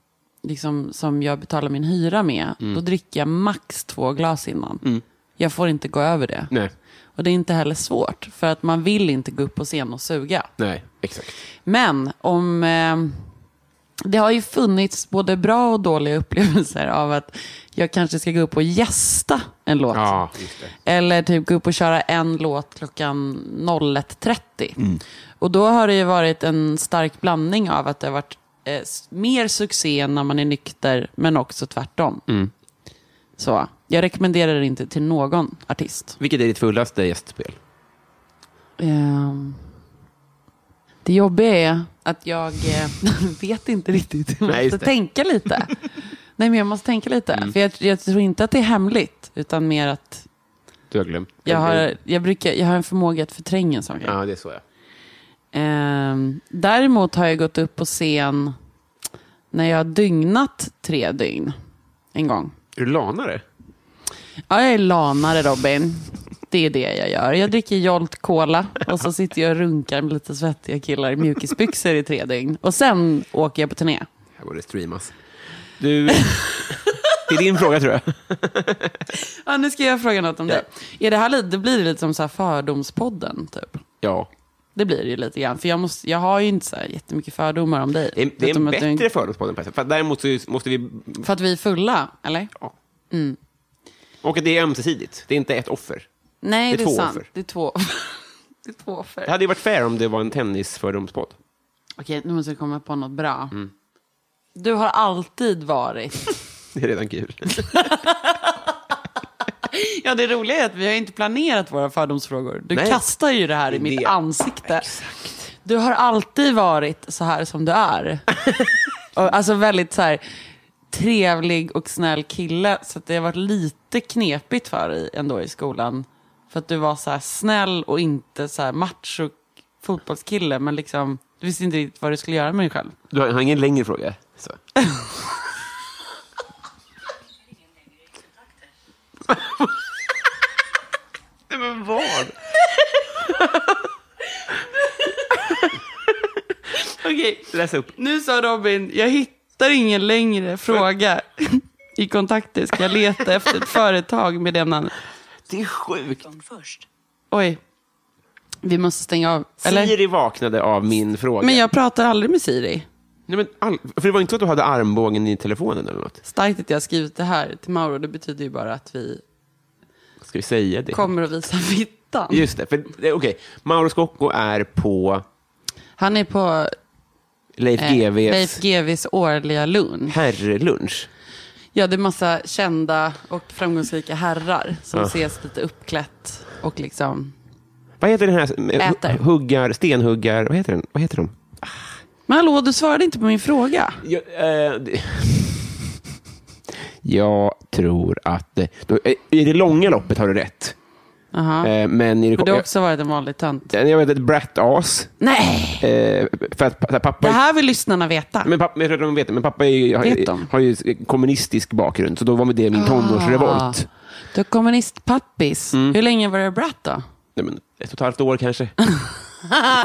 Speaker 2: liksom, som jag betalar min hyra med, då dricker jag max två glas innan. Jag får inte gå över det.
Speaker 1: Nej.
Speaker 2: Och det är inte heller svårt, för att man vill inte gå upp på scen och suga.
Speaker 1: Nej, exakt.
Speaker 2: Men om... Eh, det har ju funnits både bra och dåliga upplevelser av att jag kanske ska gå upp och gästa en låt.
Speaker 1: Ja, just det.
Speaker 2: Eller typ gå upp och köra en låt klockan 01.30. Och då har det ju varit en stark blandning av att det har varit eh, s- mer succé när man är nykter, men också tvärtom.
Speaker 1: Mm.
Speaker 2: Så, jag rekommenderar det inte till någon artist.
Speaker 1: Vilket är ditt fullaste gästspel?
Speaker 2: Ehm, Det jobbiga är att jag eh, vet inte riktigt. Jag
Speaker 1: Nej, just
Speaker 2: måste
Speaker 1: det. Mm.
Speaker 2: tänka lite. Nej, men jag måste tänka lite. För jag, jag tror inte att det är hemligt, utan mer att
Speaker 1: Du har glömt.
Speaker 2: jag har, jag brukar, jag har en förmåga att förtränga saker.
Speaker 1: Ja, det är så ja.
Speaker 2: Ehm, däremot har jag gått upp på scen när jag har dygnat tre dygn en gång.
Speaker 1: Är du lanare?
Speaker 2: Ja, jag är lanare Robin. Det är det jag gör. Jag dricker Jolt Cola och så sitter jag och runkar med lite svettiga killar i mjukisbyxor i tre dygn. Och sen åker jag på turné.
Speaker 1: Här borde det streamas. Du... det är din fråga tror jag.
Speaker 2: Ja, nu ska jag fråga något om
Speaker 1: Ja.
Speaker 2: dig. Är det här lite, det blir det lite som så här fördomspodden typ?
Speaker 1: Ja.
Speaker 2: Det blir det ju lite grann. För jag, måste, jag har ju inte så här jättemycket fördomar om dig.
Speaker 1: Det är, det är
Speaker 2: Förutom
Speaker 1: en
Speaker 2: att du
Speaker 1: bättre fördomspodd än Petter. För att Däremot så måste vi...
Speaker 2: För att vi är fulla, eller?
Speaker 1: Ja.
Speaker 2: Mm.
Speaker 1: Och att det är ömsesidigt. Det är inte ett offer.
Speaker 2: Nej,
Speaker 1: Det är
Speaker 2: det är,
Speaker 1: två
Speaker 2: sant.
Speaker 1: offer.
Speaker 2: Det är två Det är två offer.
Speaker 1: Det hade ju varit fair om det var en tennisfördomspodd.
Speaker 2: Okej, nu måste jag komma på något bra.
Speaker 1: Mm.
Speaker 2: Du har alltid varit
Speaker 1: Det är redan kul.
Speaker 2: Ja, det roliga är att vi har inte planerat våra fördomsfrågor. Du
Speaker 1: Nej.
Speaker 2: kastar ju det här i
Speaker 1: Det-
Speaker 2: mitt ansikte. Du har alltid varit så här som du är. och, alltså väldigt så här trevlig och snäll kille. Så att det har varit lite knepigt för dig ändå i skolan. För att du var så här snäll och inte så här macho fotbollskille. Men liksom Du visste inte riktigt vad du skulle göra med dig själv.
Speaker 1: Du har, har ingen längre fråga? Så. Nej, men vad?
Speaker 2: Okej,
Speaker 1: Läs upp.
Speaker 2: nu sa Robin, jag hittar ingen längre fråga i kontakter. Ska jag leta efter ett företag med det namnet?
Speaker 1: Det är sjukt.
Speaker 2: Oj, vi måste stänga av. Eller?
Speaker 1: Siri vaknade av min fråga.
Speaker 2: Men jag pratar aldrig med Siri.
Speaker 1: Nej, men all... För det var inte så att du hade armbågen i telefonen eller något?
Speaker 2: Starkt att jag har skrivit det här till Mauro, det betyder ju bara att vi
Speaker 1: Ska vi säga det?
Speaker 2: kommer att visa fittan.
Speaker 1: Just det. för det- Okej, Mauro Scocco är på
Speaker 2: Han är på
Speaker 1: Leif
Speaker 2: eh, Leif
Speaker 1: GWs
Speaker 2: GWs årliga lunch.
Speaker 1: herrlunch.
Speaker 2: Ja, det är massa kända och framgångsrika herrar som ses lite uppklätt och liksom...
Speaker 1: Vad heter den här?
Speaker 2: Äter.
Speaker 1: Huggar, stenhuggar. Vad heter den? Vad heter de?
Speaker 2: Men hallå, du svarade inte på min fråga.
Speaker 1: Jag, eh, det- jag tror att... eh, Då, eh, I det långa loppet har du rätt.
Speaker 2: Aha.
Speaker 1: Eh, men i det,
Speaker 2: Men du har också varit en vanlig tönt.
Speaker 1: jag, jag vet ett brat-as.
Speaker 2: Nej,
Speaker 1: Eh, för att pa- pappa...
Speaker 2: det här vill lyssnarna veta.
Speaker 1: Men pappa, jag tror att de vet det, men pappa är, ju- har,
Speaker 2: Vet
Speaker 1: ju-
Speaker 2: de? Ah.
Speaker 1: har ju kommunistisk bakgrund, så då var med det min tonårsrevolt.
Speaker 2: Du är kommunistpappis.
Speaker 1: Mm.
Speaker 2: Hur länge var du brat då?
Speaker 1: Nej, men ett och ett halvt år kanske.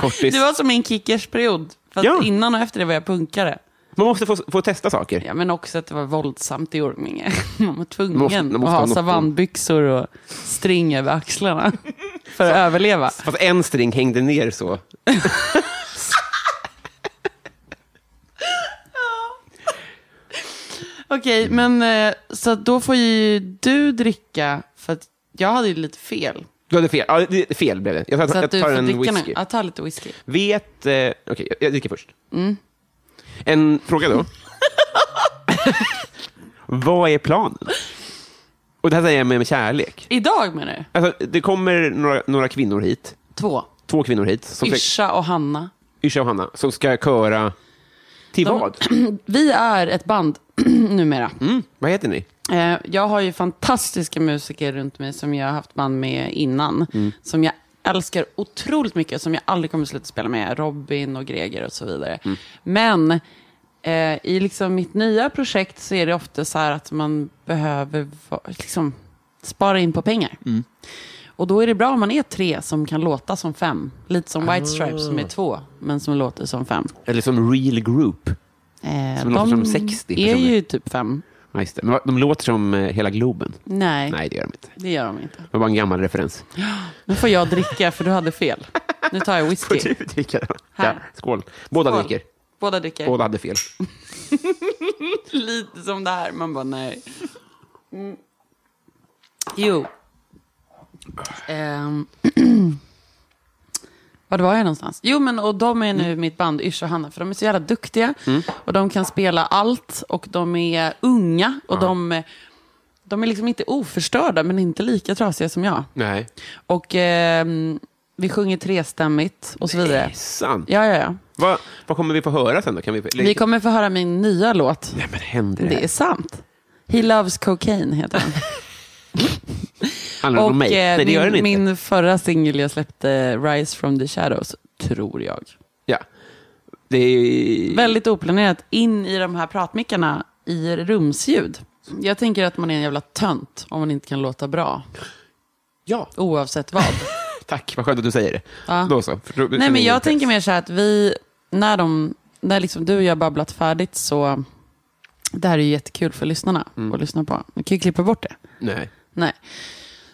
Speaker 1: Kortis.
Speaker 2: Det var som min kickersperiod. Fast
Speaker 1: Ja.
Speaker 2: innan och efter det var jag punkare.
Speaker 1: Man måste få, få testa saker.
Speaker 2: Ja, men också att det var våldsamt i Orminge. Man var tvungen
Speaker 1: Måste- måste
Speaker 2: att
Speaker 1: ha
Speaker 2: ha
Speaker 1: något-
Speaker 2: savannbyxor och string över axlarna för att överleva.
Speaker 1: Fast en string hängde ner så.
Speaker 2: Okej, men eh, så att då får ju du dricka, för att jag hade ju lite fel.
Speaker 1: Du hade fel. Ja, det- fel blev det. Jag tar,
Speaker 2: Så att
Speaker 1: jag
Speaker 2: du
Speaker 1: tar
Speaker 2: får
Speaker 1: en
Speaker 2: dricka
Speaker 1: whisky.
Speaker 2: nu. Ja, ta lite whisky.
Speaker 1: Vet... Eh, Okej, jag- jag dricker först.
Speaker 2: Mm.
Speaker 1: En fråga då. Vad är planen? Och det här säger jag med, med kärlek.
Speaker 2: Idag menar du?
Speaker 1: Alltså, det kommer några, några kvinnor hit.
Speaker 2: Två.
Speaker 1: Två kvinnor hit. Som ska,
Speaker 2: Yrsa och Hanna.
Speaker 1: Yrsa och Hanna. Som ska köra... Till
Speaker 2: De-
Speaker 1: vad?
Speaker 2: Vi är ett band numera.
Speaker 1: Mm, vad heter ni?
Speaker 2: Eh, Jag har ju fantastiska musiker runt mig som jag har haft band med innan. Som jag älskar otroligt mycket, som jag aldrig kommer sluta spela med. Robin och Greger och så vidare. Men eh, i liksom mitt nya projekt så är det ofta så här att man behöver va- liksom, spara in på pengar. Och då är det bra om man är tre som kan låta som fem. Lite som White Stripes som är två, men som låter som fem.
Speaker 1: Eller som Real Group.
Speaker 2: Eh,
Speaker 1: Som låter som 60
Speaker 2: är
Speaker 1: personer.
Speaker 2: ju typ fem.
Speaker 1: Ja, just det. Men vad- de låter som eh, hela Globen.
Speaker 2: Nej,
Speaker 1: Nej, det gör de inte.
Speaker 2: det gör de inte.
Speaker 1: Det var bara en gammal referens.
Speaker 2: Nu får jag dricka för du hade fel. Nu tar jag
Speaker 1: Får
Speaker 2: whisky.
Speaker 1: du dricka den?
Speaker 2: Här.
Speaker 1: Ja, skål. Båda
Speaker 2: Skål.
Speaker 1: dricker.
Speaker 2: Båda dricker.
Speaker 1: Båda hade fel.
Speaker 2: Lite som det här. Man bara nej. Mm. Jo. Um. Var var jag någonstans? Jo, men och de är
Speaker 1: Mm.
Speaker 2: nu mitt band Yrsa och Hanna, för de är så jävla duktiga. Och de kan spela allt och de är unga och de, de är liksom inte oförstörda, men inte lika trasiga som jag.
Speaker 1: Nej.
Speaker 2: Och ehm, vi sjunger trestämmigt och så vidare.
Speaker 1: Sant.
Speaker 2: Ja, ja, ja.
Speaker 1: Vad, vad kommer vi få höra sen då? Kan vi,
Speaker 2: Vi kommer få höra min nya låt.
Speaker 1: Nej, men händer det?
Speaker 2: Det är sant. He loves cocaine heter den.
Speaker 1: Handlar det om mig?
Speaker 2: eh,
Speaker 1: Nej, det
Speaker 2: min,
Speaker 1: gör den inte.
Speaker 2: min förra singel jag släppte, Rise from the shadows, tror jag.
Speaker 1: Ja. Det är...
Speaker 2: Väldigt oplanerat in i de här pratmickarna i rumsljud. Jag tänker att man är en jävla tönt om man inte kan låta bra,
Speaker 1: Ja,
Speaker 2: oavsett vad.
Speaker 1: tack. Vad skönt att du säger det.
Speaker 2: Ja.
Speaker 1: Då så. För då-
Speaker 2: Nej, men jag
Speaker 1: inget-
Speaker 2: tänker mer så här att vi, när, de, när liksom du och jag har babblat färdigt så, det här är ju jättekul för lyssnarna
Speaker 1: Mm.
Speaker 2: att lyssna på. Vi kan ju klippa bort det.
Speaker 1: Nej.
Speaker 2: Nej.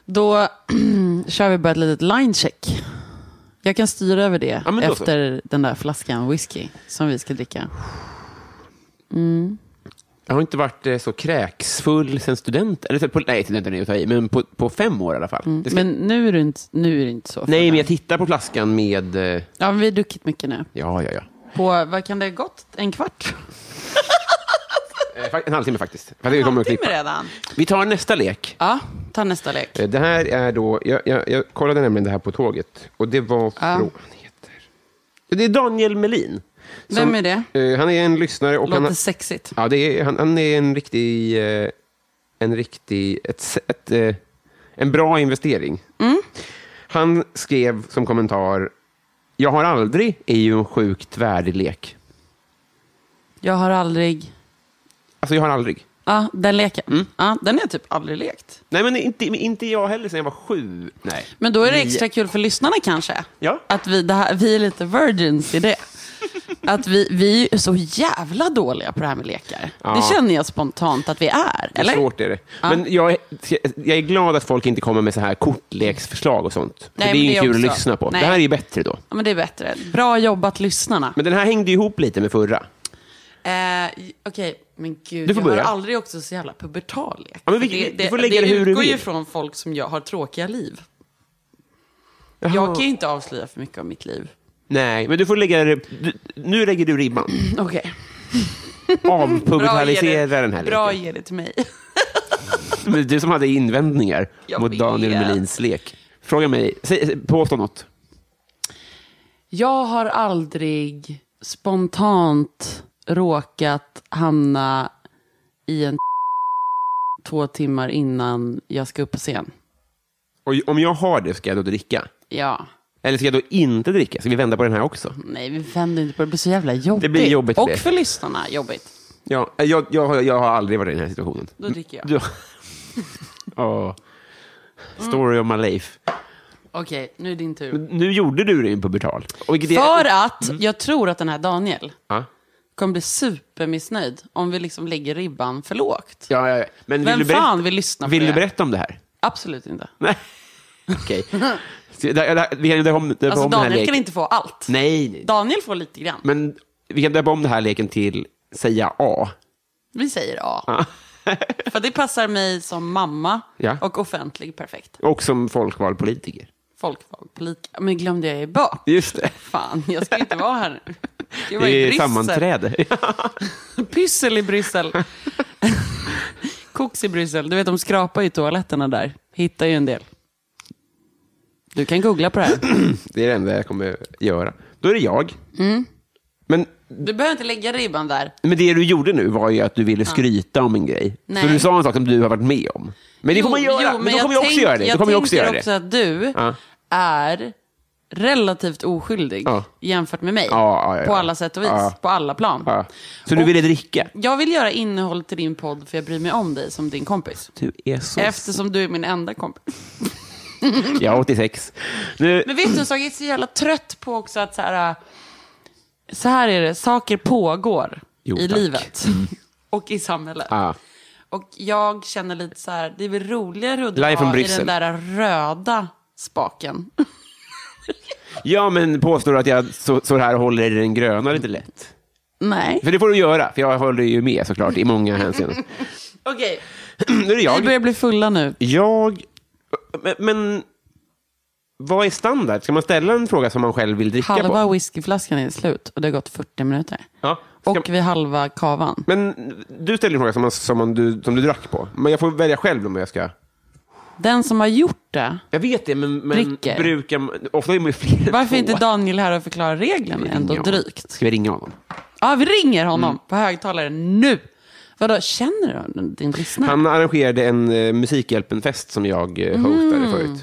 Speaker 2: Då kör vi bara ett litet linecheck. Jag kan styra över det
Speaker 1: Ja, men då så.
Speaker 2: efter den där flaskan whisky som vi ska dricka.
Speaker 1: Jag har inte varit eh, så kräksfull sen studenten. Eller, så på, nej, studenten är ju att ta i, men på, på fem år i alla fall. Det ska-
Speaker 2: Mm. Men nu är det inte, nu är det inte så.
Speaker 1: Nej, men jag tittar på flaskan med... eh,
Speaker 2: Ja, men vi har druckit mycket nu.
Speaker 1: Ja, ja, ja.
Speaker 2: På, vad kan det ha gått? En kvart?
Speaker 1: Eh, fa- En halvtimme faktiskt. Fast det kommer att
Speaker 2: Halvtimme
Speaker 1: klippa.
Speaker 2: redan?
Speaker 1: Vi tar nästa lek.
Speaker 2: Ja, ta nästa lek.
Speaker 1: Eh, Det här är då, jag, jag, jag kollade nämligen det här på tåget och det var frågan heter... Det är Daniel Melin.
Speaker 2: Vem är det?
Speaker 1: Eh, han är en lyssnare och han,
Speaker 2: Låter sexigt.
Speaker 1: ja, det är, han, han är en riktig, eh, en riktig, ett, s- ett, eh,
Speaker 2: Mm.
Speaker 1: en bra investering. Han skrev som kommentar Jag har aldrig är ju en sjukt värdig lek.
Speaker 2: Jag har aldrig...
Speaker 1: Alltså, jag har aldrig.
Speaker 2: Ja, den leken. Ja, den har jag typ aldrig lekt.
Speaker 1: Nej, men inte, inte jag heller sen jag var sju. Nej.
Speaker 2: Men då är det
Speaker 1: Nio.
Speaker 2: extra kul för lyssnarna kanske.
Speaker 1: Ja.
Speaker 2: Att vi, det här, vi är lite virgins i det. Att vi, vi är så jävla dåliga på det här med lekar. Det känner jag spontant att vi är. Eller?
Speaker 1: Svårt är det. Men jag är, jag är glad att folk inte kommer med så här kortleksförslag och sånt. För det är
Speaker 2: Nej, men
Speaker 1: ju
Speaker 2: det är
Speaker 1: kul att
Speaker 2: också-
Speaker 1: lyssna på.
Speaker 2: Nej.
Speaker 1: Det här är ju bättre då.
Speaker 2: Ja, men det är bättre. Bra jobbat lyssnarna.
Speaker 1: Men den här hängde ju ihop lite med förra.
Speaker 2: Eh, j- Okej, men gud.
Speaker 1: Du får
Speaker 2: jag
Speaker 1: börja.
Speaker 2: har aldrig också så jävla pubertal lek.
Speaker 1: Ja, men vi-
Speaker 2: För
Speaker 1: du får lägga
Speaker 2: det
Speaker 1: det hur du
Speaker 2: utgår ju
Speaker 1: vill.
Speaker 2: från folk som jag har tråkiga liv. Jag kan ju inte avslöja för mycket av mitt liv.
Speaker 1: Nej, men du får lägga det... Du, nu lägger du ribban.
Speaker 2: Okej. Bra,
Speaker 1: Avpublicera
Speaker 2: ge det-
Speaker 1: den här
Speaker 2: Bra,
Speaker 1: leken.
Speaker 2: ge det till mig.
Speaker 1: Men Du som hade invändningar
Speaker 2: Jag
Speaker 1: mot
Speaker 2: vet.
Speaker 1: Daniel Melins lek. Fråga mig. Säg, säg- påstå något.
Speaker 2: Jag har aldrig spontant råkat hamna i en två timmar innan jag ska upp på scen.
Speaker 1: Och om jag har det, ska jag då dricka?
Speaker 2: Ja.
Speaker 1: Eller ska jag då inte dricka? Ska vi vända på den här också?
Speaker 2: Nej, vi vänder inte på det. Det blir så jävla jobbigt.
Speaker 1: Det blir jobbigt för
Speaker 2: Och
Speaker 1: dig.
Speaker 2: för lyssnarna, jobbigt.
Speaker 1: Ja, jag, jag, har- jag har aldrig varit i den här situationen.
Speaker 2: Då dricker jag.
Speaker 1: Du... Åh. Story of my life.
Speaker 2: Okej, nu är din tur.
Speaker 1: Nu gjorde du det i en pubertal. Och vilket
Speaker 2: För
Speaker 1: är... Mm.
Speaker 2: att jag tror att den här Daniel
Speaker 1: Ja,
Speaker 2: kommer bli supermissnöjd om vi liksom lägger ribban för lågt.
Speaker 1: ja, ja. Men vill
Speaker 2: Vem
Speaker 1: du berätta...
Speaker 2: fan vill lyssna på
Speaker 1: Vill
Speaker 2: det?
Speaker 1: du berätta om det här?
Speaker 2: Absolut inte.
Speaker 1: Nej. Okej. Så där- där- Vi kan döpa om, döpa
Speaker 2: Alltså
Speaker 1: om den här
Speaker 2: Daniel
Speaker 1: leken.
Speaker 2: kan inte få allt.
Speaker 1: Nej, nej.
Speaker 2: Daniel får lite grann.
Speaker 1: Men vi kan döpa om den här leken till säga A.
Speaker 2: Vi säger ja. För det passar mig som mamma
Speaker 1: Ja.
Speaker 2: och offentlig perfekt.
Speaker 1: Och som folkvald politiker.
Speaker 2: Folkvald politiker. Men glömde jag ju bak.
Speaker 1: Just det.
Speaker 2: Fan, jag ska inte vara här nu. Jag var i
Speaker 1: Det är
Speaker 2: Bryssel.
Speaker 1: sammanträde.
Speaker 2: Pyssel i Bryssel. Koks i Bryssel. Du vet, de skrapar ju toaletterna där. Hittar ju en del. Du kan googla på det här.
Speaker 1: Det är det enda jag kommer göra. Då är det jag.
Speaker 2: Mm.
Speaker 1: Men,
Speaker 2: Du behöver inte lägga ribban där.
Speaker 1: men det du gjorde nu var ju att du ville skryta om en grej.
Speaker 2: Nej.
Speaker 1: Så du sa en sak som du har varit med om. Men det får man göra. men då kommer jag också
Speaker 2: tänk-
Speaker 1: göra det. Då
Speaker 2: Jag
Speaker 1: kommer jag också
Speaker 2: tänker
Speaker 1: göra
Speaker 2: också
Speaker 1: det.
Speaker 2: att du
Speaker 1: Ja.
Speaker 2: är relativt oskyldig
Speaker 1: Ja.
Speaker 2: jämfört med mig.
Speaker 1: Ja, ja, ja,
Speaker 2: På
Speaker 1: ja.
Speaker 2: alla sätt och vis.
Speaker 1: Ja.
Speaker 2: På alla plan.
Speaker 1: Ja. Så du ville dricka?
Speaker 2: Jag vill göra innehåll till din podd för jag bryr mig om dig som din kompis.
Speaker 1: Du är så...
Speaker 2: Eftersom du är min enda kompis.
Speaker 1: Jag är 86. Nu...
Speaker 2: Men vet du, en sak, jag är så jävla trött på också att så här... äh, Så här är det, saker pågår
Speaker 1: Jo,
Speaker 2: i
Speaker 1: tack. Mm.
Speaker 2: livet. Och i samhället.
Speaker 1: Ah.
Speaker 2: Och jag känner lite så här, det är väl roligare att
Speaker 1: Live from
Speaker 2: dra i
Speaker 1: Bryssel.
Speaker 2: den där röda spaken.
Speaker 1: Ja, men påstår du att jag så, så här håller i den gröna lite lätt?
Speaker 2: Nej.
Speaker 1: För det får du göra, för jag håller ju med såklart i många hänseenden.
Speaker 2: Okej,
Speaker 1: nu är det
Speaker 2: vi
Speaker 1: jag.
Speaker 2: börjar bli fulla nu.
Speaker 1: Jag... Men, men... Vad är standard? Ska man ställa en fråga som man själv vill dricka
Speaker 2: Halva
Speaker 1: på?
Speaker 2: whiskyflaskan är slut och det har gått 40 minuter.
Speaker 1: Ja. Ska,
Speaker 2: Och vi är halva kavan.
Speaker 1: Men du ställer en fråga som, man, som, man, du, som du drack på. Men jag får välja själv om jag ska...
Speaker 2: Den som har gjort det,
Speaker 1: Jag vet det, men, men
Speaker 2: Dricker.
Speaker 1: brukar man... Ofta är man ju fler än
Speaker 2: varför är inte
Speaker 1: två.
Speaker 2: Daniel här och förklarar reglerna
Speaker 1: Ringa
Speaker 2: ändå
Speaker 1: honom.
Speaker 2: drygt?
Speaker 1: Ska vi Mm. ringa honom?
Speaker 2: Ja, vi ringer honom på högtalare nu. Vadå, känner du din lyssnare?
Speaker 1: Han arrangerade en eh, Musikhjälpen-fest som jag eh,
Speaker 2: Mhm.
Speaker 1: hostade förut.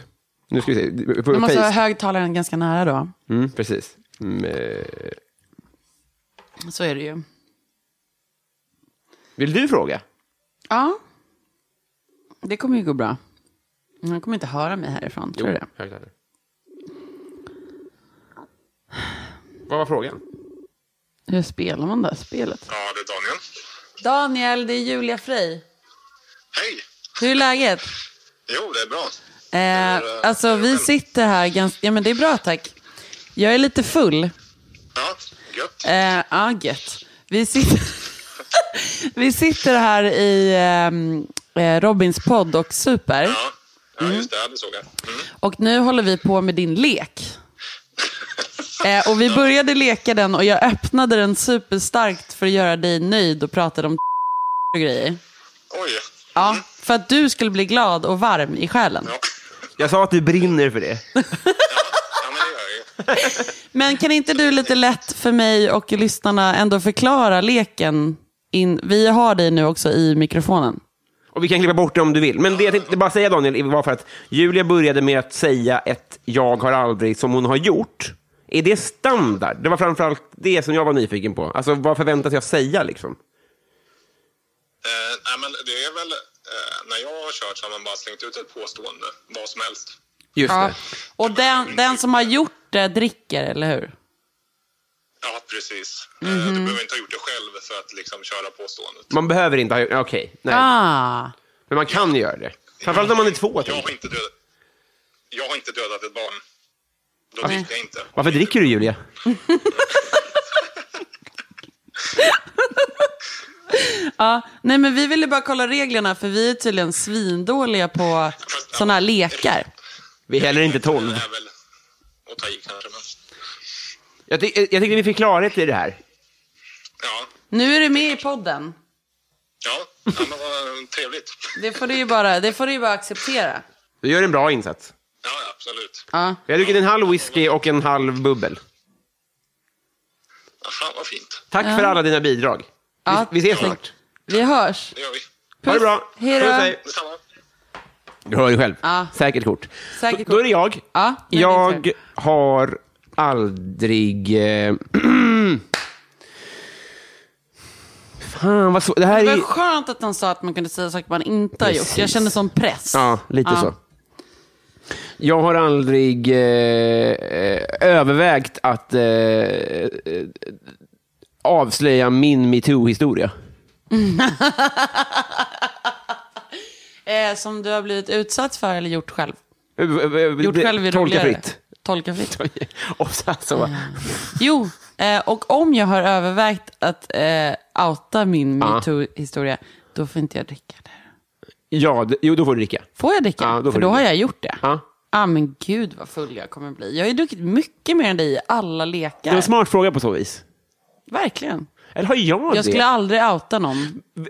Speaker 1: Nu ska vi se. Vi får
Speaker 2: Du måste ha
Speaker 1: face.
Speaker 2: högtalaren ganska nära då.
Speaker 1: Mm, precis. Mm, eh,
Speaker 2: Så är det ju.
Speaker 1: vill du fråga?
Speaker 2: Ja, det kommer ju gå bra. Han kommer inte höra mig härifrån, tror du det?
Speaker 1: högtalare. Vad var frågan?
Speaker 2: Hur spelar man det här spelet?
Speaker 3: Ja, det är Daniel.
Speaker 2: Daniel, det är Julia Frey.
Speaker 3: Hej!
Speaker 2: Hur är läget?
Speaker 3: Jo, det är bra.
Speaker 2: Eh, alltså vi sitter här ganska... Ja men det är bra tack. Jag är lite full.
Speaker 3: Ja, gött.
Speaker 2: Eh, ja, gött. Vi sitter, vi sitter här i ehm, eh, Robins podd och Super.
Speaker 3: Ja, ja just det. Ja, det såg jag. Mm.
Speaker 2: Och nu håller vi på med din lek. Eh, och vi började leka den och jag öppnade den superstarkt för att göra dig nöjd och pratade om och grejer.
Speaker 3: Oj.
Speaker 2: Ja, för att du skulle bli glad och varm i själen.
Speaker 3: Ja.
Speaker 1: Jag sa att du brinner för det.
Speaker 3: ja, men det gör jag ju.
Speaker 2: Men kan inte du lite lätt för mig och lyssnarna ändå förklara leken? In, vi har dig nu också i mikrofonen.
Speaker 1: Och vi kan klippa bort det om du vill. Men det jag tänkte bara säga Daniel var för att Julia började med att säga ett jag har aldrig som hon har gjort Är det standard? Det var framförallt det som jag var nyfiken på. Alltså, vad förväntas jag säga liksom?
Speaker 3: Eh, nej, men det är väl eh, när jag har kört så har man bara slängt ut ett påstående, vad som helst.
Speaker 1: Just
Speaker 2: Ja.
Speaker 1: det.
Speaker 2: Och den, den som har gjort det dricker, eller hur?
Speaker 3: Ja, precis. Eh, du behöver inte ha gjort det själv för att liksom köra påståendet.
Speaker 1: Man behöver inte ha... Okej. nej.
Speaker 2: Ah,
Speaker 1: Men man kan ju göra det. Framförallt om man är två. typ. tänker
Speaker 3: Jag har
Speaker 1: jag.
Speaker 3: inte dödat, jag har inte dödat ett barn. Då dricker jag inte.
Speaker 1: Varför dricker du, Julia?
Speaker 2: nej men vi ville bara kolla reglerna för vi är tydligen svindåliga på sådana här lekar.
Speaker 1: Vi är heller inte tolv.
Speaker 3: Det är väl att ta i kanske, men...
Speaker 1: Jag, ty- jag tyckte vi fick klarhet i det här.
Speaker 3: Ja,
Speaker 2: Nu är du med i podden.
Speaker 3: ja, ja men vad eh, trevligt.
Speaker 2: Det får du ju bara, det får du ju bara acceptera.
Speaker 1: Du gör en bra insats.
Speaker 3: Ja, ja, absolut.
Speaker 2: Ja.
Speaker 1: Jag har druckit en halv whisky och en halv bubbel.
Speaker 3: Aha, vad fint.
Speaker 1: Tack för alla dina bidrag. Vi,
Speaker 2: Ja.
Speaker 1: vi ses snart.
Speaker 2: Vi hörs.
Speaker 3: Det gör vi.
Speaker 1: Ha det bra.
Speaker 2: Hej då.
Speaker 1: Puss, hej.
Speaker 3: Detsamma.
Speaker 1: Du hör ju själv.
Speaker 2: Ja.
Speaker 1: Säkert kort.
Speaker 2: Säkert
Speaker 1: Då-
Speaker 2: kort.
Speaker 1: Då är det jag.
Speaker 2: Ja, nu är det
Speaker 1: jag
Speaker 2: din tur.
Speaker 1: har aldrig... Eh, Fan, vad svårt. Det här
Speaker 2: Det var
Speaker 1: är...
Speaker 2: skönt att han sa att man kunde säga saker man inte har gjort.
Speaker 1: Precis.
Speaker 2: Jag kände sån press.
Speaker 1: Ja, lite
Speaker 2: Ja.
Speaker 1: så. Jag har aldrig eh, eh, övervägt att eh, eh, avslöja min metoo-historia.
Speaker 2: Eh, som du har blivit utsatt för eller gjort själv?
Speaker 1: Eh,
Speaker 2: Gjort
Speaker 1: Gjort
Speaker 2: själv är
Speaker 1: Tolka
Speaker 2: roligare. Ah.
Speaker 1: fritt.
Speaker 2: Tolka fritt.
Speaker 1: Och så, så.
Speaker 2: Jo, eh, och om jag har övervägt att eh, outa min metoo-historia, då får inte jag dricka det.
Speaker 1: Ja, d- jo, då får du dricka.
Speaker 2: Får jag dricka?
Speaker 1: Ja, då får
Speaker 2: För
Speaker 1: du
Speaker 2: då har
Speaker 1: dricka.
Speaker 2: jag gjort det.
Speaker 1: Ja.
Speaker 2: Ah, men gud vad full jag kommer bli. Jag har ju druckit mycket mer än dig i alla
Speaker 1: Det var
Speaker 2: lekar.
Speaker 1: en smart fråga på så vis.
Speaker 2: Verkligen.
Speaker 1: Eller har jag,
Speaker 2: Jag skulle
Speaker 1: det?
Speaker 2: aldrig outa någon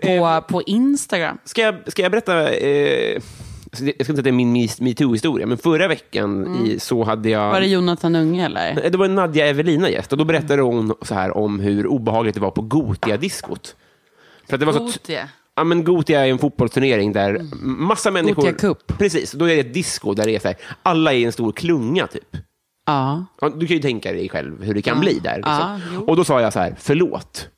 Speaker 2: på,
Speaker 1: Eh,
Speaker 2: på Instagram.
Speaker 1: Ska jag, ska jag berätta... Eh, alltså, det- jag ska inte säga att det är min mis- metoo-historia, men förra veckan i, så hade jag...
Speaker 2: Mm.
Speaker 1: Eh,
Speaker 2: Var det Jonathan Unge eller?
Speaker 1: Det var en Nadja Evelina gäst och då berättade hon så här om hur obehagligt det var på Gotia-diskot. För att det var så t-
Speaker 2: Gothia.
Speaker 1: Ja, men Gotia är en fotbollsturnering där massa människor...
Speaker 2: Gothia Mm. Cup.
Speaker 1: Precis, då är det ett disco där det är så här, alla är i en stor klunga typ.
Speaker 2: Ja.
Speaker 1: Ja, Du kan ju tänka dig själv hur det kan bli där.
Speaker 2: Ja,
Speaker 1: Liksom.
Speaker 2: jo.
Speaker 1: och då sa jag så här, förlåt.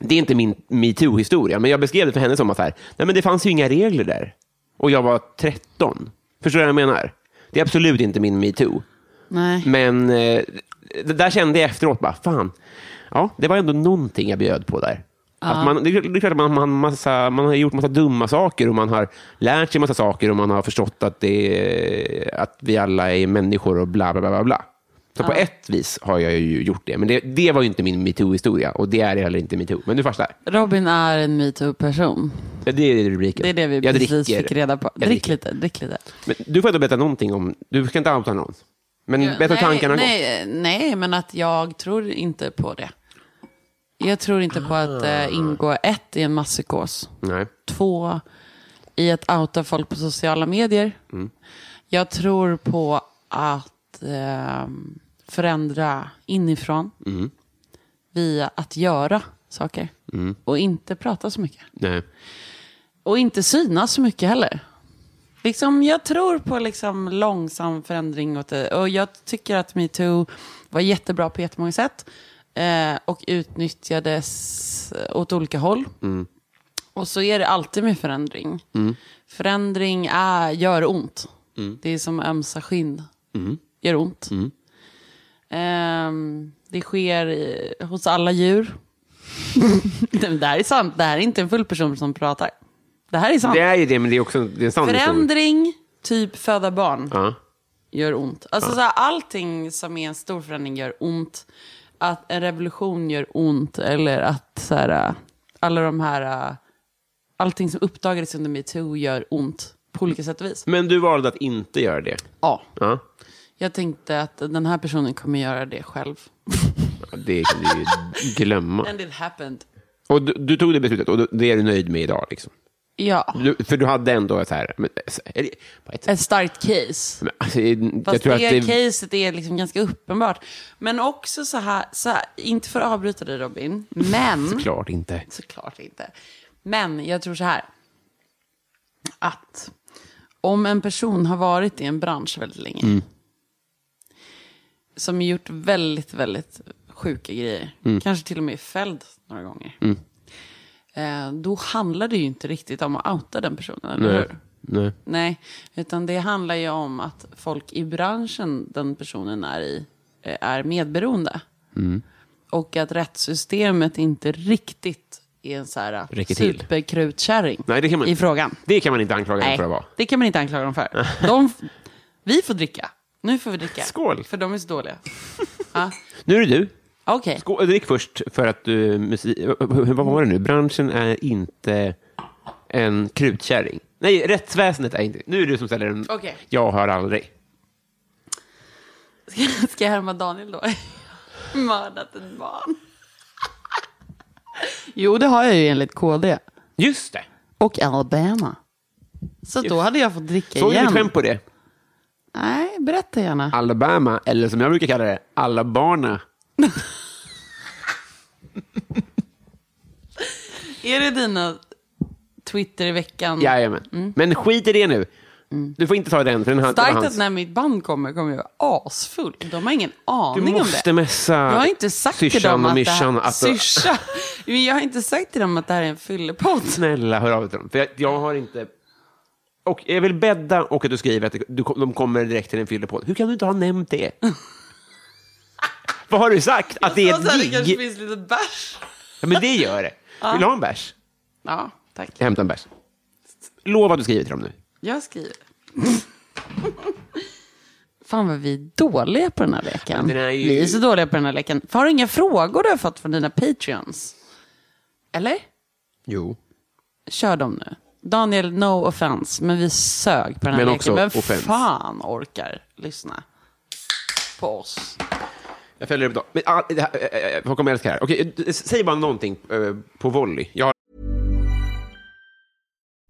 Speaker 1: Det är inte min metoo-historia, men jag beskrev det för henne som att så här, nej, men det fanns ju inga regler där. Och jag var 13. Förstår du vad jag menar? Det är absolut inte min metoo.
Speaker 2: Nej.
Speaker 1: Men eh, det där kände jag efteråt, bara, fan, ja, det var ändå någonting jag bjöd på där. Att man, det är det är klart att man, man, massa, man har gjort massa dumma saker och man har lärt sig massa saker och man har förstått att, det, är- att vi alla är människor och bla, bla, bla. bla, bla. Så på ett vis har jag ju gjort det, men det, det var ju inte min metoo-historia och det är heller inte metoo. Men du fattar,
Speaker 2: Robin är en metoo-person.
Speaker 1: det är rubriken.
Speaker 2: Det är det vi
Speaker 1: jag
Speaker 2: precis
Speaker 1: dricker.
Speaker 2: fick reda på.
Speaker 1: Jag
Speaker 2: Drick
Speaker 1: dricker.
Speaker 2: lite, drick lite.
Speaker 1: Men du får inte berätta någonting om, du ska inte outa någon. Men berätta
Speaker 2: nej,
Speaker 1: tankarna gått.
Speaker 2: nej, nej, men att jag tror inte på det. Jag tror inte på att eh, ingå ett i en masspsykos.
Speaker 1: Nej.
Speaker 2: Två, i att outa folk på sociala medier. Jag tror på att eh, förändra inifrån. Via att göra saker. Och inte prata så mycket.
Speaker 1: Nej.
Speaker 2: Och inte synas så mycket heller. Liksom, jag tror på liksom långsam förändring. Åt det. Och jag tycker att metoo var jättebra på jättemånga sätt. Eh, och utnyttjades eh, åt olika håll. Och så är det alltid med förändring. Förändring är, gör ont. Det är som ömsa skinn. Gör ont. Ehm, det sker i, hos alla djur. det det här är sant. Det här är inte en full person som pratar. Det här är sant.
Speaker 1: Det är ju det, men det är också det är en sann historia.
Speaker 2: Förändring, typ föda barn,
Speaker 1: Ja.
Speaker 2: gör ont. Alltså så här, allting som är en stor förändring gör ont. Att en revolution gör ont. Eller att så här, äh, alla de här... äh, Allting som uppdagades under metoo gör ont på olika sätt och vis.
Speaker 1: Men du valde att inte göra det.
Speaker 2: Ja.
Speaker 1: Ja.
Speaker 2: Jag tänkte att den här personen kommer göra det själv.
Speaker 1: Det kan du ju glömma.
Speaker 2: And it happened.
Speaker 1: Och du, du tog det beslutet och du- det är du nöjd med idag. Liksom.
Speaker 2: Ja.
Speaker 1: Du, för du hade ändå så här... Men, är det, på ett sätt,
Speaker 2: Ett starkt case.
Speaker 1: men, alltså, jag
Speaker 2: Fast
Speaker 1: tror att
Speaker 2: det,
Speaker 1: det,
Speaker 2: caset är liksom ganska uppenbart. Men också så här, så här inte för att avbryta dig Robin, men...
Speaker 1: Klart inte.
Speaker 2: Såklart inte. Men jag tror så här. Att om en person har varit i en bransch väldigt länge. som gjort väldigt, väldigt sjuka grejer. Kanske till och med fälld några gånger. Eh, då handlar det ju inte riktigt om att outa den personen, eller
Speaker 1: Nej.
Speaker 2: hur?
Speaker 1: Nej.
Speaker 2: Nej, utan det handlar ju om att folk i branschen den personen är i eh, är medberoende.
Speaker 1: Mm.
Speaker 2: Och att rättssystemet inte riktigt är en så här eh,
Speaker 1: Räcker till.
Speaker 2: superkrutkärring
Speaker 1: Nej, det kan man
Speaker 2: i frågan.
Speaker 1: Det kan man inte anklaga dem
Speaker 2: Nej,
Speaker 1: för att vara.
Speaker 2: det kan man inte anklaga dem för. De, f- vi får dricka. Nu får vi dricka.
Speaker 1: Skål.
Speaker 2: För de är så dåliga.
Speaker 1: Nu är det du.
Speaker 2: Okej.
Speaker 1: Skå- drick först för att du... Musik, vad var det nu? Branschen är inte en krutkärring. Nej, rättsväsendet är inte... Nu är det du som ställer den.
Speaker 2: Okej.
Speaker 1: Jag hör aldrig.
Speaker 2: Ska, ska jag härma Daniel då? Mördat ett barn. Jo, det har jag ju enligt KD.
Speaker 1: Just det!
Speaker 2: Och Alabama. Så då hade jag fått dricka
Speaker 1: Såg du
Speaker 2: igen.
Speaker 1: mitt skämt på det?
Speaker 2: Nej, berätta gärna.
Speaker 1: Alabama, eller som jag brukar kalla det, Alabama.
Speaker 2: Är det dina Twitter i veckan?
Speaker 1: Jajamän. Men skit i det nu. Du får inte ta den, för den har- det var
Speaker 2: Mm. Starkt att
Speaker 1: hans.
Speaker 2: när mitt band kommer kommer jag vara asfull. De har ingen
Speaker 1: Du
Speaker 2: aning om
Speaker 1: måste
Speaker 2: det.
Speaker 1: messa
Speaker 2: Jag har inte sagt till
Speaker 1: syrsan
Speaker 2: dem
Speaker 1: och
Speaker 2: att det
Speaker 1: myrsan
Speaker 2: här...
Speaker 1: att...
Speaker 2: Syrsa? Men jag har inte sagt till dem att det här är en fyllepodd.
Speaker 1: Snälla, hör av dig till dem. För jag, jag har inte... Och jag vill bädda och att du skriver att du, de kommer direkt till en fyllepodd. Hur kan du inte ha nämnt det? Vad har du sagt? Att det är
Speaker 2: Och så här, det
Speaker 1: ett
Speaker 2: kanske
Speaker 1: gig?
Speaker 2: finns lite bärs.
Speaker 1: Ja, men det gör det. Vill du ha en bärs?
Speaker 2: Ja, tack.
Speaker 1: Jag hämtar en bärs. Lova att du skriver till dem nu.
Speaker 2: Jag skriver. Fan vad vi är dåliga på den här leken.
Speaker 1: Den är ju-
Speaker 2: Vi är så dåliga på den här leken. Har du inga frågor du har fått från dina patreons? Eller?
Speaker 1: Jo.
Speaker 2: Kör dem nu. Daniel, no offense, men vi sög på den här
Speaker 1: Men
Speaker 2: leken.
Speaker 1: också
Speaker 2: men
Speaker 1: offense.
Speaker 2: fan orkar lyssna på oss?
Speaker 1: Jag följer upp dem. Men, ah, det här, eh, eh, folk kommer älska det här. Okej, eh, säg bara någonting eh, på volley. Jag har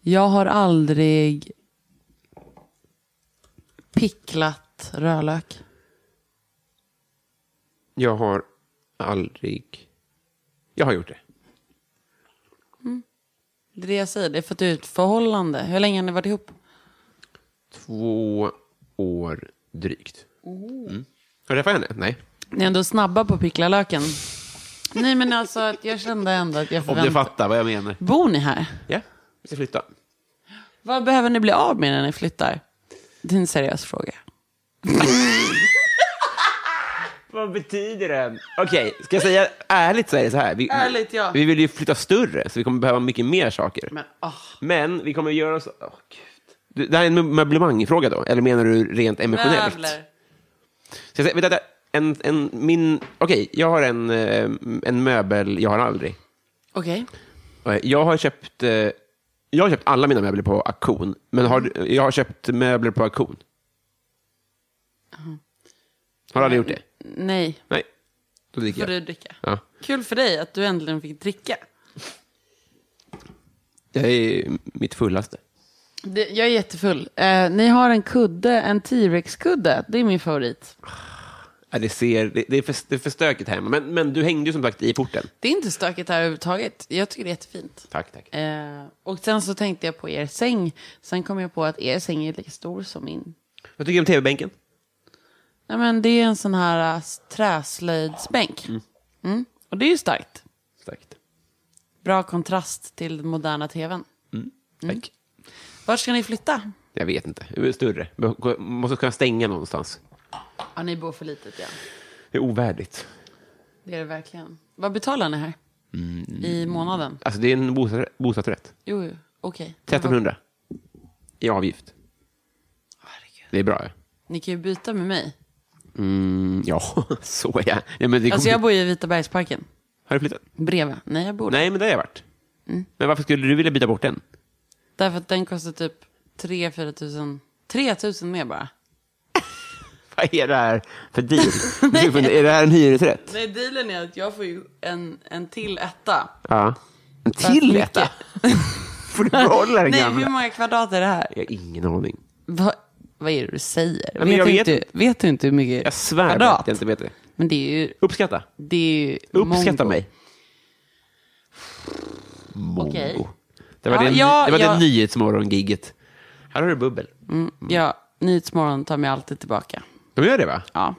Speaker 2: Jag har aldrig picklat rödlök.
Speaker 1: Jag har aldrig... Jag har gjort det.
Speaker 2: Det är det jag säger, det är för att du är i ett förhållande. Hur länge har ni varit ihop?
Speaker 1: Två år drygt. Mm. Har du träffat henne? Nej.
Speaker 2: Ni är ändå snabba på att pickla löken. Nej men alltså att jag kände ändå att jag
Speaker 1: Om du
Speaker 2: förväntade
Speaker 1: fattar vad jag menar.
Speaker 2: Bor ni här?
Speaker 1: Ja, vi ska flytta.
Speaker 2: Vad behöver ni bli av med när ni flyttar? Det är en seriös fråga.
Speaker 1: Vad betyder det? Okej, ska jag säga ärligt så är det så här. Vi,
Speaker 2: Ärligt, ja.
Speaker 1: vi vill ju flytta större, så vi kommer behöva mycket mer saker.
Speaker 2: Men, ah.
Speaker 1: Men vi kommer göra så... Åh, Gud. Du, Det här är en mö- möblemangfråga då, eller menar du rent emotionellt?
Speaker 2: Möbler.
Speaker 1: Ska jag säga, vänta, en, en, min... Okej, jag har en, eh, en möbel jag har aldrig.
Speaker 2: Okej.
Speaker 1: Eh, Jag har köpt... eh, Jag har köpt alla mina möbler på auktion, men har, du- jag har köpt möbler på auktion. Har du aldrig gjort det?
Speaker 2: Nej,
Speaker 1: Nej. Då dricker
Speaker 2: får
Speaker 1: jag.
Speaker 2: du dricka.
Speaker 1: Ja.
Speaker 2: Kul för dig att du äntligen fick dricka.
Speaker 1: Jag är mitt fullaste.
Speaker 2: Det, jag är jättefull. Eh, ni har en kudde, en T-Rex-kudde. Det är min favorit.
Speaker 1: Ja, det, ser, det, det, är för, det är för stökigt hemma, men, men du hängde ju som sagt i porten.
Speaker 2: Det är inte stökigt här överhuvudtaget. Jag tycker det är jättefint.
Speaker 1: Tack, tack.
Speaker 2: Eh, och sen så tänkte jag på er säng. Sen kom jag på att er säng är lika stor som min.
Speaker 1: Vad tycker du om tv-bänken?
Speaker 2: Nej, men det är en sån här uh, träslöjdsbänk. Mm. Och det är ju starkt.
Speaker 1: Starkt.
Speaker 2: Bra kontrast till den moderna tvn.
Speaker 1: Tack.
Speaker 2: Vart ska ni flytta?
Speaker 1: Mm. Jag vet inte. Det är Större. Man Måste kunna stänga någonstans.
Speaker 2: Ja, ni bor för litet, ja.
Speaker 1: Det är ovärdigt.
Speaker 2: Det är det verkligen. Vad betalar ni här? I månaden?
Speaker 1: Alltså, det är en bostadsrä- bostadsrätt.
Speaker 2: Jo, jo. okej.
Speaker 1: 1300 i avgift.
Speaker 2: Herregud.
Speaker 1: Det är bra, ja.
Speaker 2: Ni kan ju byta med mig.
Speaker 1: Mm, ja, så är jag. Nej, men det
Speaker 2: Alltså
Speaker 1: kommer-
Speaker 2: jag bor ju i Vitabergsparken.
Speaker 1: Har du flyttat?
Speaker 2: Bredvid. Nej, jag bor där.
Speaker 1: Nej, men det har jag varit. Men varför skulle du vilja byta bort den?
Speaker 2: Därför att den kostar typ 3-4 tusen. 3 tusen mer bara.
Speaker 1: Vad är det här för deal? Du funderar, är det här en hyresrätt?
Speaker 2: Nej, dealen är att jag får ju en, en till etta.
Speaker 1: Ja. En till
Speaker 2: mycket.
Speaker 1: etta? Får du behålla den
Speaker 2: Nej, hur
Speaker 1: gamla?
Speaker 2: många kvadrat är det här?
Speaker 1: Jag har ingen aning.
Speaker 2: Va, vad är det du säger?
Speaker 1: men jag
Speaker 2: du
Speaker 1: vet
Speaker 2: inte, vet du inte hur mycket
Speaker 1: Jag svär på
Speaker 2: kvadrat?
Speaker 1: att jag inte vet det.
Speaker 2: Men det är ju...
Speaker 1: Uppskatta.
Speaker 2: Det är ju
Speaker 1: Uppskatta
Speaker 2: mongo.
Speaker 1: mig. Mongo.
Speaker 2: Okej.
Speaker 1: Det var
Speaker 2: Ja,
Speaker 1: det,
Speaker 2: ja,
Speaker 1: det, var
Speaker 2: ja.
Speaker 1: det nyhetsmorgon-giget. Här har du bubbel.
Speaker 2: Ja, Nyhetsmorgon tar mig alltid tillbaka.
Speaker 1: De gör det, va?
Speaker 2: Ja.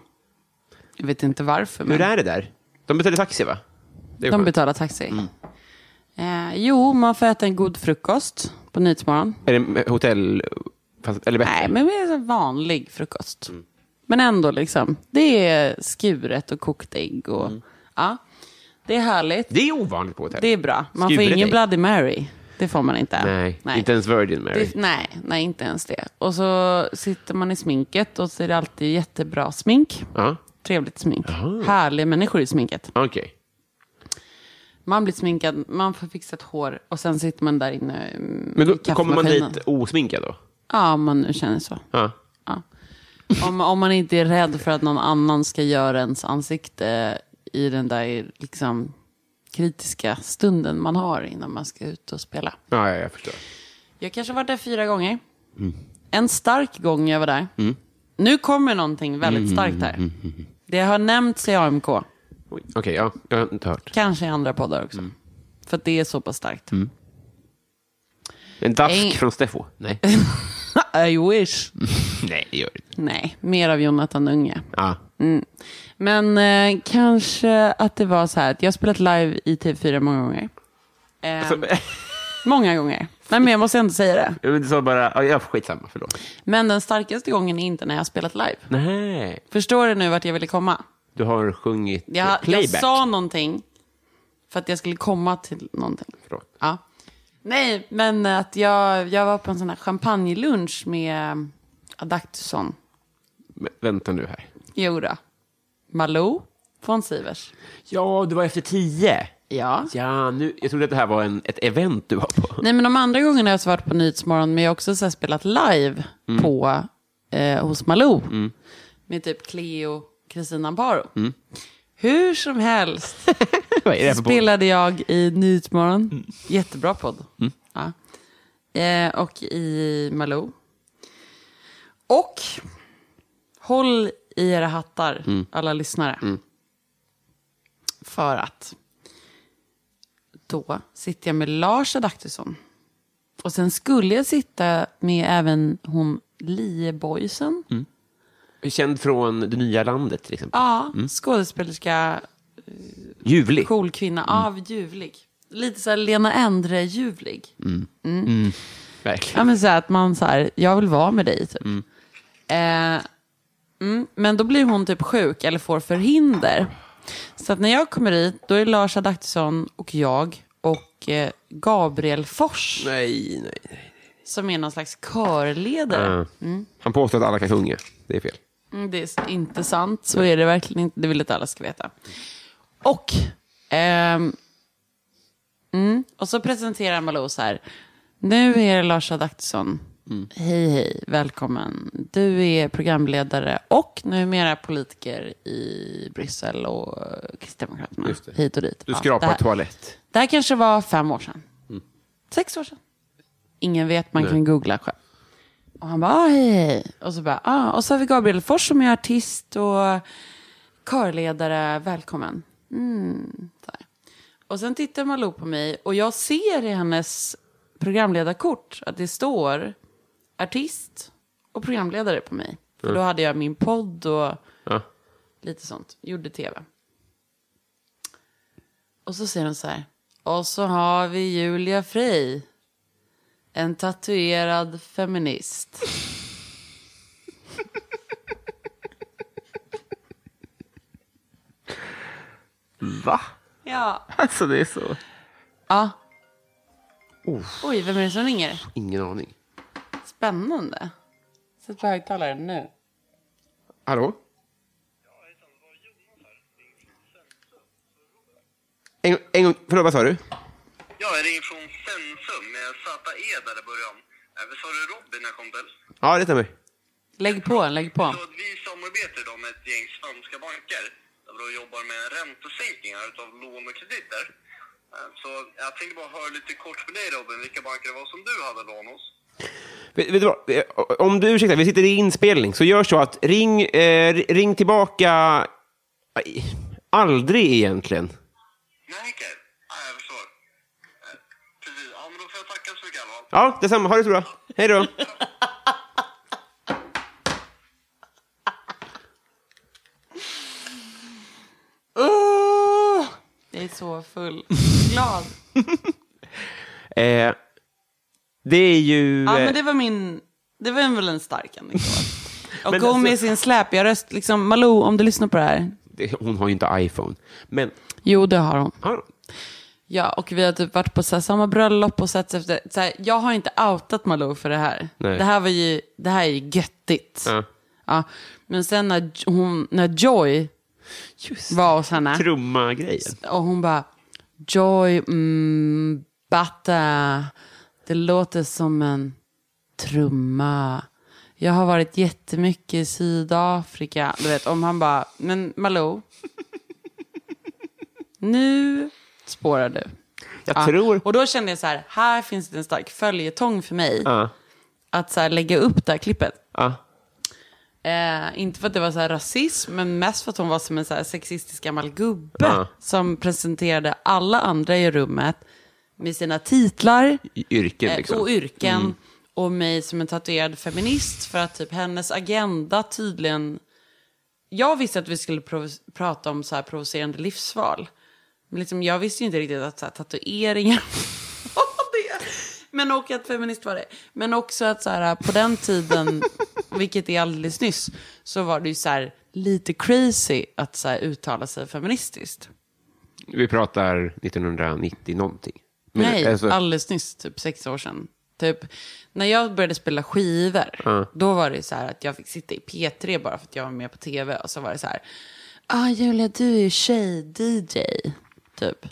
Speaker 2: Jag vet inte varför. Men
Speaker 1: Hur är det där? De betalar taxi, va? Det Mm. är
Speaker 2: de
Speaker 1: skönt.
Speaker 2: betalar taxi. Eh, jo, man får äta en god frukost på Nyhetsmorgon.
Speaker 1: Är det hotell... fast- Eller bättre?
Speaker 2: Nej, men det är en vanlig frukost.
Speaker 1: Mm.
Speaker 2: Men ändå, liksom. Det är skuret och kokt ägg. Och, ja, det är härligt.
Speaker 1: Mm. Det är ovanligt på hotell.
Speaker 2: Det är bra. Man
Speaker 1: Skuret
Speaker 2: får ingen
Speaker 1: ägg.
Speaker 2: Bloody Mary. Det får man inte.
Speaker 1: Nej, inte ens Virgin Mary.
Speaker 2: Det, nej, nej, inte ens det. Och så sitter man i sminket och så är det alltid jättebra smink.
Speaker 1: Ja,
Speaker 2: Trevligt smink. Härliga människor i sminket.
Speaker 1: okej.
Speaker 2: Man blir sminkad, man får fixat hår och sen sitter man där inne mm,
Speaker 1: Men då
Speaker 2: i kaffemaskinen.
Speaker 1: kommer man dit osminkad då?
Speaker 2: Ja, om man nu känner så.
Speaker 1: Ja.
Speaker 2: Ja. Om, om man inte är rädd för att någon annan ska göra ens ansikte i den där liksom, kritiska stunden man har innan man ska ut och spela.
Speaker 1: Ja, ja, jag förstår.
Speaker 2: Jag kanske har varit där fyra gånger. En stark gång jag var där. Nu kommer någonting väldigt starkt här. Det har nämnts i AMK,
Speaker 1: Oj, Okej, ja, jag har inte hört.
Speaker 2: kanske i andra poddar också. För att det är så pass starkt.
Speaker 1: En dask
Speaker 2: Ing-
Speaker 1: från Steffo? Nej.
Speaker 2: I wish.
Speaker 1: Nej, det gör det inte.
Speaker 2: Nej, mer av Jonathan Unge.
Speaker 1: Ja.
Speaker 2: Men eh, kanske att det var så här att jag har spelat live i TV4 många gånger. Eh, många gånger. Nej, men jag måste ändå säga det.
Speaker 1: Men Du sa bara, ja, jag skitsamma, förlåt.
Speaker 2: Men den starkaste gången är inte när jag har spelat live.
Speaker 1: Nej,
Speaker 2: Förstår du nu vart jag ville komma?
Speaker 1: du har sjungit
Speaker 2: Jag, jag
Speaker 1: playback.
Speaker 2: sa någonting för att jag skulle komma till någonting.
Speaker 1: Förlåt.
Speaker 2: Ja. Nej, men att jag, jag var på en sån här champagnelunch med eh, Adaktusson.
Speaker 1: Men, vänta nu här.
Speaker 2: Jodå. Malou von Sivers.
Speaker 1: Ja, du var efter tio.
Speaker 2: Ja.
Speaker 1: Ja, nu, jag trodde att det här var en, ett event du var på.
Speaker 2: Nej, men de andra gångerna har jag också varit på Nyhetsmorgon, men jag har också så här spelat live på, eh, hos Malou. Med typ Cleo, Kristina Amparo. Hur som helst
Speaker 1: Vad är det här för podd?
Speaker 2: spelade jag i Nyhetsmorgon. Jättebra podd. Ja. Eh, och i Malou. Och håll i era hattar, alla lyssnare. För att då sitter jag med Lars Adaktusson. Och sen skulle jag sitta med även hon Lieboysen.
Speaker 1: Känd från det nya landet, till exempel.
Speaker 2: Ja, skådespelerska,
Speaker 1: Ljuvlig.
Speaker 2: cool kvinna. Av ljuvlig. Lite så här Lena Endre-ljuvlig. Ja,
Speaker 1: Verkligen.
Speaker 2: men så här, att man så här, jag vill vara med dig typ. Eh, mm, men då blir hon typ sjuk eller får förhinder. Så att när jag kommer dit, då är Lars Adaktusson och jag och eh, Gabriel Fors,
Speaker 1: Nej, nej.
Speaker 2: som är någon slags körledare.
Speaker 1: Ja. Han påstår att alla kan sjunga. Det är fel.
Speaker 2: Mm, Det är s- inte sant. Så är det verkligen inte. Det vill inte alla ska veta. Och, ehm, mm, och så presenterar Malou så här. Nu är det Lars Adaktusson.
Speaker 1: Mm.
Speaker 2: Hej, hej, välkommen. Du är programledare och numera politiker i Bryssel och eh, Kristdemokraterna.
Speaker 1: Just det.
Speaker 2: Hit och dit.
Speaker 1: Du
Speaker 2: Ja, det
Speaker 1: skrapar
Speaker 2: här-
Speaker 1: toalett.
Speaker 2: Det här kanske var fem år sedan. Sex år sedan. Ingen vet, man kan googla själv. Och han bara, ah, hej, hej. Och så bara, ah. Och så har vi Gabriel Fors som är artist och körledare. Välkommen. Mm. Så här. Och sen tittar Malou på mig och jag ser i hennes programledarkort att det står artist och programledare på mig. För då hade jag min podd och
Speaker 1: Ja.
Speaker 2: lite sånt. Gjorde tv. Och så säger hon så här. Och så har vi Julia Frey. En tatuerad feminist.
Speaker 4: Va?
Speaker 2: Ja.
Speaker 4: Alltså det är så...
Speaker 2: ja. Oj, vem är det som ringer?
Speaker 1: Ingen aning.
Speaker 2: Spännande. Sätt på högtalaren nu.
Speaker 1: Hallå? En, en gång, förlåt vad sa du?
Speaker 5: Ja, jag ringer från Sensum med ZE där i början. Även sa du Robin när kom till?
Speaker 1: Ja, det stämmer.
Speaker 2: Lägg på, lägg på.
Speaker 5: Så att vi samarbetar idag med ett gäng svenska banker där vi då jobbar med räntesänkningar utav lån och krediter. Eh, Så jag tänkte bara höra lite kort med dig Robin, vilka banker det var som du hade lån hos?
Speaker 1: Vet, vet du vad? Eh, Om du ursäktar, vi sitter i inspelning, så gör så att ring, eh, ring tillbaka... Aj, aldrig egentligen.
Speaker 5: Nej, okej. Ja, jag förstår. Eh, Precis. Ja, men då får jag tacka så mycket i alla fall.
Speaker 1: Ja, detsamma. Ha det så bra. Hej då.
Speaker 2: Oh, jag är så full. Glad.
Speaker 1: Eh, det är ju...
Speaker 2: Ja, men
Speaker 1: eh,
Speaker 2: det var min... Det var väl en stark anekdot. Och
Speaker 1: Men
Speaker 2: hon med
Speaker 1: alltså-
Speaker 2: sin släpiga röst, liksom, Malou, om du lyssnar på det här.
Speaker 1: det- Hon har ju inte iPhone. Men...
Speaker 2: Jo, det har hon.
Speaker 1: Ja,
Speaker 2: Ja, och vi har typ varit på så här, samma bröllop och sett efter. Så här, jag har inte outat Malou för det här.
Speaker 1: Nej.
Speaker 2: Det här var ju, det här är ju göttigt.
Speaker 1: Ja.
Speaker 2: Ja, men sen när, J- hon, när Joy var hos henne
Speaker 1: Trumma-grejen.
Speaker 2: och hon bara, Joy mm, Batta, det låter som en trumma. Jag har varit jättemycket i Sydafrika. Du vet, om han bara, men Malou, nu spårar du.
Speaker 1: Jag
Speaker 2: Ja.
Speaker 1: tror...
Speaker 2: Och då kände jag så här, här finns det en stark följetong för mig.
Speaker 1: Ja.
Speaker 2: Att så här, lägga upp det här klippet.
Speaker 1: Ja.
Speaker 2: Eh, inte för att det var så här rasism, men mest för att hon var som en så här sexistisk gammal gubbe.
Speaker 1: Ja.
Speaker 2: Som presenterade alla andra i rummet med sina titlar
Speaker 1: I- Yrken,
Speaker 2: eh,
Speaker 1: liksom.
Speaker 2: och yrken. Och mig som en tatuerad feminist för att typ hennes agenda tydligen... Jag visste att vi skulle provo- prata om så här provocerande livsval. Men liksom, jag visste ju inte riktigt att så här, tatueringar var det. Men och att feminist var det. Men också att så här, på den tiden, vilket är alldeles nyss, så var det ju så här, lite crazy att så här, uttala sig feministiskt.
Speaker 1: Vi pratar 1990 någonting. Men,
Speaker 2: Nej,
Speaker 1: alltså,
Speaker 2: alldeles nyss, typ sex år sedan. Typ, när jag började spela skivor, då var det så här att jag fick sitta i P3 bara för att jag var med på tv. Och så var det så här, ah Julia du är ju tjej-DJ, typ.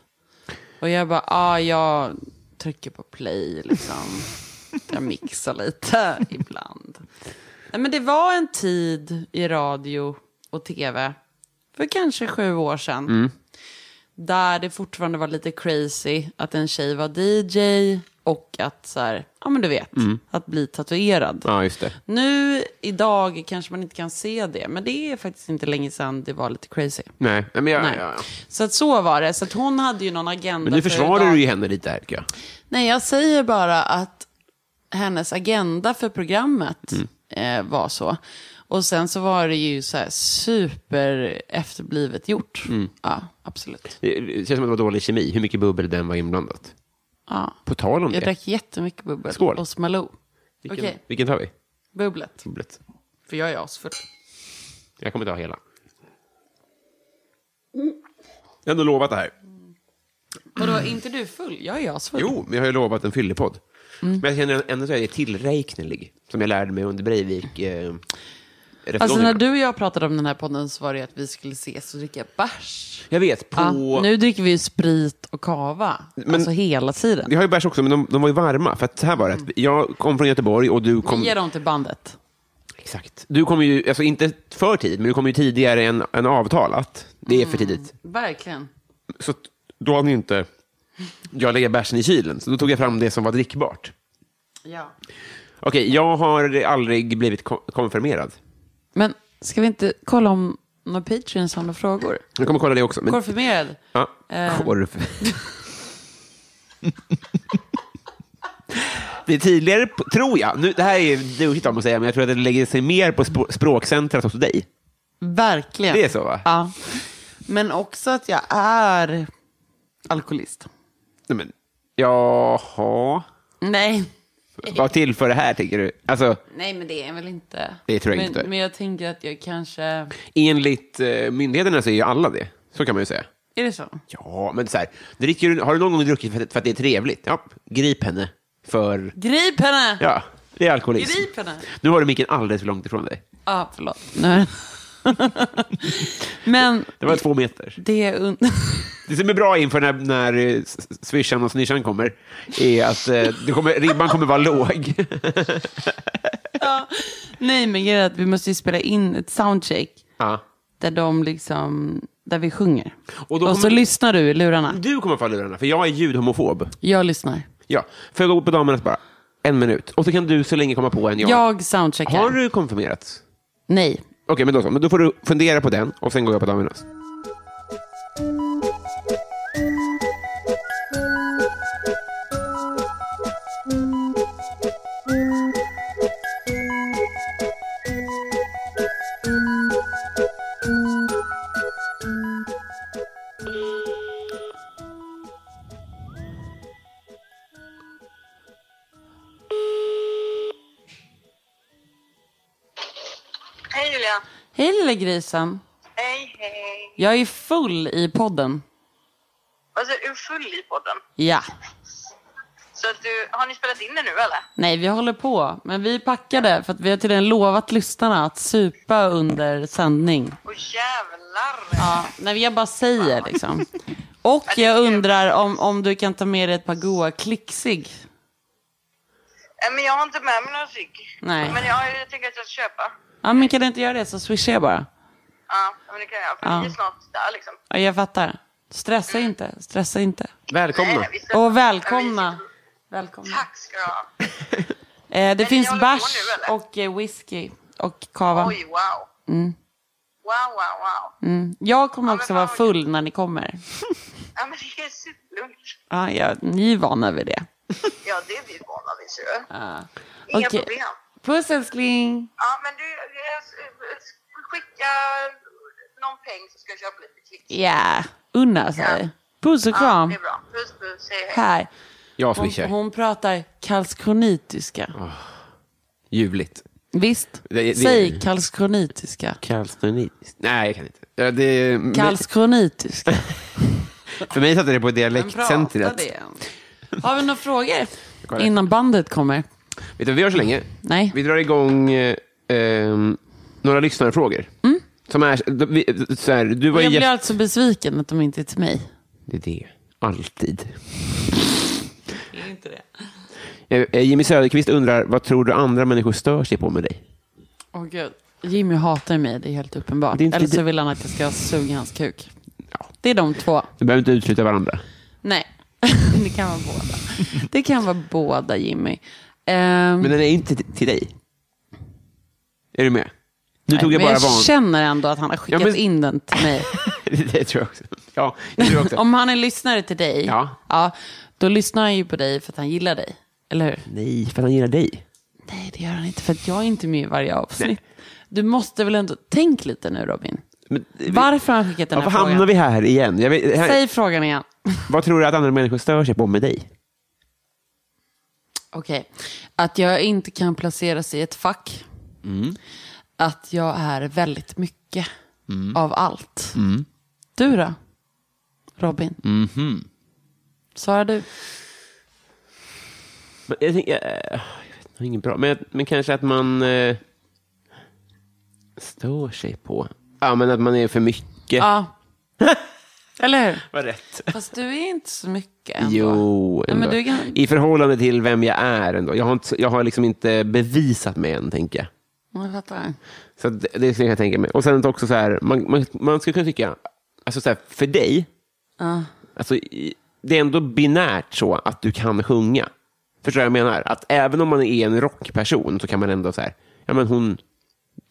Speaker 2: Och jag bara, ah jag trycker på play liksom. Jag mixar lite ibland. Nej, men det var en tid i radio och tv, för kanske sju år sedan
Speaker 1: Mm.
Speaker 2: där det fortfarande var lite crazy att en tjej var DJ och att så här, ja men du vet, att bli tatuerad.
Speaker 1: Mm. Ja, just det.
Speaker 2: Nu idag kanske man inte kan se det, men det är faktiskt inte länge sedan det var lite crazy.
Speaker 1: Nej, men jag...
Speaker 2: Nej.
Speaker 1: Ja, ja.
Speaker 2: Så att så var det, så att hon hade ju någon agenda.
Speaker 1: Men nu
Speaker 2: för
Speaker 1: försvarar
Speaker 2: idag.
Speaker 1: du ju henne lite här, tycker jag.
Speaker 2: Nej, jag säger bara att hennes agenda för programmet
Speaker 1: Mm.
Speaker 2: eh, var så. Och sen så var det ju så här super efterblivet gjort.
Speaker 1: Mm.
Speaker 2: Ja, absolut.
Speaker 1: Det känns som att det var dålig kemi, hur mycket bubbel den var inblandat.
Speaker 2: Ja.
Speaker 1: På tal om
Speaker 2: Jag
Speaker 1: det,
Speaker 2: drack jättemycket bubbel.
Speaker 1: Skål.
Speaker 2: Hos Malou. Okej,
Speaker 1: vilken, vilken tar vi?
Speaker 2: bubblet.
Speaker 1: Bubblet.
Speaker 2: För jag är asfull.
Speaker 1: Jag kommer inte ha hela.
Speaker 2: Mm.
Speaker 1: Jag har ändå lovat det här.
Speaker 2: Vadå, är inte du full? Jag är asfull.
Speaker 1: Jo, men jag har ju lovat en fyllepodd.
Speaker 2: Mm.
Speaker 1: Men jag känner ändå så att jag är tillräknelig, som jag lärde mig under Breivik. Eh,
Speaker 2: Alltså
Speaker 1: rättegången.
Speaker 2: när du och jag pratade om den här podden så var det ju att vi skulle ses och dricka bärs.
Speaker 1: Jag vet, på...
Speaker 2: Ja, nu dricker vi ju sprit och kava.
Speaker 1: Men-
Speaker 2: alltså hela
Speaker 1: Vi
Speaker 2: tiden.
Speaker 1: har ju bärs också, men de, de var ju varma. För att så här var det, att jag kom från Göteborg och du kom...
Speaker 2: Ge dem till bandet.
Speaker 1: Exakt. Du kommer ju, alltså inte för tidigt, men du kommer ju tidigare än, än avtalat. Det är
Speaker 2: Mm.
Speaker 1: för tidigt.
Speaker 2: Verkligen.
Speaker 1: Så t- då hade ju inte jag lägger bärsen i kylen, så då tog jag fram det som var drickbart.
Speaker 2: Ja.
Speaker 1: Okej, jag har aldrig blivit ko- konfirmerad.
Speaker 2: Men ska vi inte kolla om några patreons har några frågor?
Speaker 1: Jag kommer kolla det också. Men,
Speaker 2: Konfirmerad?
Speaker 1: ja,
Speaker 2: Eh.
Speaker 1: korv. Det är tydligare, på- tror jag, nu, det här är duschigt av mig att säga, men jag tror att det lägger sig mer på spr- språkcentrat hos dig.
Speaker 2: Verkligen.
Speaker 1: Det är så, va?
Speaker 2: Ja. Men också att jag är alkoholist.
Speaker 1: Nej, men, jaha.
Speaker 2: Nej.
Speaker 1: Var till för det här, tycker du? Alltså,
Speaker 2: Nej, men det är väl inte.
Speaker 1: Det tror jag
Speaker 2: men,
Speaker 1: inte.
Speaker 2: Men jag tänker att jag kanske...
Speaker 1: enligt eh, myndigheterna så är ju alla det. Så kan man ju säga.
Speaker 2: Är det så?
Speaker 1: Ja, men så här, dricker du, har du någon gång druckit för att, för att det är trevligt? Ja, grip henne för...
Speaker 2: Grip henne!
Speaker 1: Ja, det är alkoholism.
Speaker 2: Grip henne!
Speaker 1: Nu har du micken alldeles för långt ifrån dig.
Speaker 2: Ja, förlåt. Nej. men
Speaker 1: Det var två meter.
Speaker 2: det är... Un...
Speaker 1: Det som är bra inför när, när eh, s- s- swishan och snishan kommer är att eh, det kommer, ribban kommer vara låg.
Speaker 2: Nej, men grejen är att vi måste ju spela in ett soundcheck
Speaker 1: Ja.
Speaker 2: där de liksom... Där vi sjunger.
Speaker 1: Och
Speaker 2: Och,
Speaker 1: då
Speaker 2: så
Speaker 1: kommer-
Speaker 2: lyssnar du i lurarna.
Speaker 1: Du kommer få lurarna, för jag är ljudhomofob.
Speaker 2: Jag lyssnar.
Speaker 1: Ja. Får jag gå på damernas bara? En minut. Och så kan du så länge komma på en jag.
Speaker 2: Jag soundcheckar.
Speaker 1: Har du konfirmerats?
Speaker 2: Nej.
Speaker 1: Okej, men då så. Men då får du fundera på den och sen går jag på damernas.
Speaker 6: Hej Julia.
Speaker 2: Hej lilla grisen.
Speaker 6: Hej, hej.
Speaker 2: Jag är full i podden.
Speaker 6: Alltså, du är full i podden.
Speaker 2: Ja.
Speaker 6: Så att du, har ni spelat in det nu eller?
Speaker 2: Nej, vi håller på. Men vi packade för att vi har tydligen lovat lyssnarna att supa under sändning.
Speaker 6: Åh jävlar.
Speaker 2: Ja, nej, jag bara säger liksom. Och jag undrar om, om du kan ta med dig ett par goa klicksig.
Speaker 6: Äh, Men jag har inte med mig några cigg.
Speaker 2: Nej.
Speaker 6: Men jag, jag tänker att jag ska köpa.
Speaker 2: Ja, men kan du inte göra det så swishar jag bara.
Speaker 6: Ja, men det kan jag. För
Speaker 2: Ja.
Speaker 6: vi är snart där liksom.
Speaker 2: Ja, jag fattar. Stressa inte, stressa inte.
Speaker 1: Välkomna.
Speaker 6: Nej, vi ska-
Speaker 2: Och
Speaker 6: Ja,
Speaker 2: välkomna.
Speaker 6: vi-
Speaker 2: Välkomna.
Speaker 6: Tack ska du ha.
Speaker 2: Eh, det finns
Speaker 6: håller på
Speaker 2: bärs
Speaker 6: nu, eller?
Speaker 2: och eh, whisky och kava.
Speaker 6: Oj, wow.
Speaker 2: Mm.
Speaker 6: Wow, wow, wow.
Speaker 2: Jag kommer
Speaker 6: Ja, men
Speaker 2: också vara
Speaker 6: fan vad
Speaker 2: full när ni kommer.
Speaker 6: Ja, men det är superlugnt.
Speaker 2: Ja, ja, ni är vana vid det.
Speaker 6: Ja, det är vi vana vid så. Inga
Speaker 2: Okej.
Speaker 6: problem.
Speaker 2: Puss älskling.
Speaker 6: Ja, men du, jag s- skicka någon peng så ska jag köpa lite klick.
Speaker 2: Ja, unna sig. Puss och
Speaker 6: Ja,
Speaker 2: kram.
Speaker 6: det är bra. Puss, puss. Hej, hej.
Speaker 2: Här.
Speaker 1: Jag
Speaker 2: Hon,
Speaker 1: swishar.
Speaker 2: hon pratar kalskronitiska.
Speaker 1: Ljuvligt.
Speaker 2: Visst?
Speaker 1: Det- det-
Speaker 2: Säg kalskronitiska.
Speaker 1: Kalstroniskt. Nej, jag kan inte. Ja, det,
Speaker 2: Kalskronitiska.
Speaker 1: för mig satte det på
Speaker 2: Vem pratar
Speaker 1: dialektcentret.
Speaker 2: det? Har vi några frågor? Innan bandet kommer.
Speaker 1: Vet du vad vi gör så länge?
Speaker 2: Nej.
Speaker 1: Vi drar igång eh, ehm, några lyssnarfrågor. Som är, de- vi, så här, du var ju
Speaker 2: Mm. Jag blir
Speaker 1: gäst-
Speaker 2: alltså besviken att de inte är till mig.
Speaker 1: Det är det. Alltid.
Speaker 2: Är inte det?
Speaker 1: Eh, eh, Jimmy Söderqvist undrar, vad tror du andra människor stör sig på med dig?
Speaker 2: Åh gud. Jimmy hatar mig, det är helt uppenbart.
Speaker 1: Det är inte-
Speaker 2: Eller så vill han att jag ska suga hans kuk. Det är de två.
Speaker 1: Du behöver inte utesluta varandra.
Speaker 2: Mm. Nej, det kan vara båda. Det kan vara båda, Jimmy. Ehm,
Speaker 1: Men den är inte t- till dig. Är du med? Nu tog
Speaker 2: nej,
Speaker 1: jag
Speaker 2: men
Speaker 1: bara
Speaker 2: jag
Speaker 1: van.
Speaker 2: känner ändå att han har skickat
Speaker 1: Ja, men-
Speaker 2: in den till mig.
Speaker 1: det tror jag också. Ja, det tror jag också.
Speaker 2: Om han är lyssnare till dig,
Speaker 1: Ja.
Speaker 2: då lyssnar han ju på dig för att han gillar dig. Eller hur?
Speaker 1: Nej, för att han gillar dig.
Speaker 2: Nej, det gör han inte för att jag är inte med i varje avsnitt. Du måste väl ändå, tänk lite nu Robin.
Speaker 1: Men, eh,
Speaker 2: Varför har han skickat den här
Speaker 1: Varför hamnar
Speaker 2: frågan?
Speaker 1: vi här igen? Jag vet, här,
Speaker 2: Säg frågan igen.
Speaker 1: Vad tror du att andra människor stör sig på med dig?
Speaker 2: Okej. Att jag inte kan placeras i ett fack. Att jag är väldigt mycket av allt. Du då? Robin? mm Svarar du?
Speaker 1: Men jag tänker, eh, jag vet nog inget bra, men, men kanske att man eh, stör sig på. Ja, men att man är för mycket.
Speaker 2: Ja. Eller hur?
Speaker 1: Var rätt.
Speaker 2: Fast du är inte så mycket ändå.
Speaker 1: Jo,
Speaker 2: Nej, men
Speaker 1: ändå.
Speaker 2: du kan-
Speaker 1: i förhållande till vem jag är ändå. Jag har, inte, jag har liksom inte bevisat mig än, tänker jag.
Speaker 2: Jag fattar.
Speaker 1: Så att det, det ska jag tänka mig. Och sen också så här, man, man, man skulle kunna tycka, alltså så här, för dig, alltså, i- det är ändå binärt så att du kan sjunga. Förstår du vad jag menar? Att även om man är en rockperson så kan man ändå så här, ja men hon,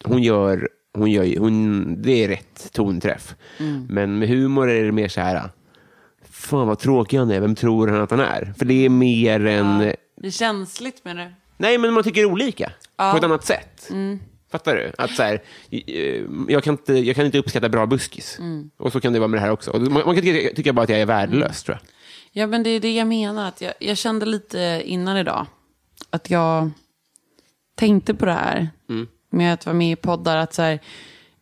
Speaker 1: hon gör, hon gör ju- hon, det är rätt tonträff. Men med humor är det mer så här, fan vad tråkig han är, vem tror han att han är? För det är mer en,
Speaker 2: Det är känsligt med det.
Speaker 1: Nej, men man tycker olika på ett annat sätt.
Speaker 2: Mm.
Speaker 1: Fattar du? Att så här, eh, jag, kan inte, jag kan inte uppskatta bra buskis.
Speaker 2: Mm.
Speaker 1: Och så kan det vara med det här också. Och Man, man kan tycka, tycka bara att jag är värdelös, tror jag.
Speaker 2: Ja, men det är det jag menar. Att jag, jag kände lite innan idag att jag tänkte på det här.
Speaker 1: Mm.
Speaker 2: Med att vara med i poddar. Att så här,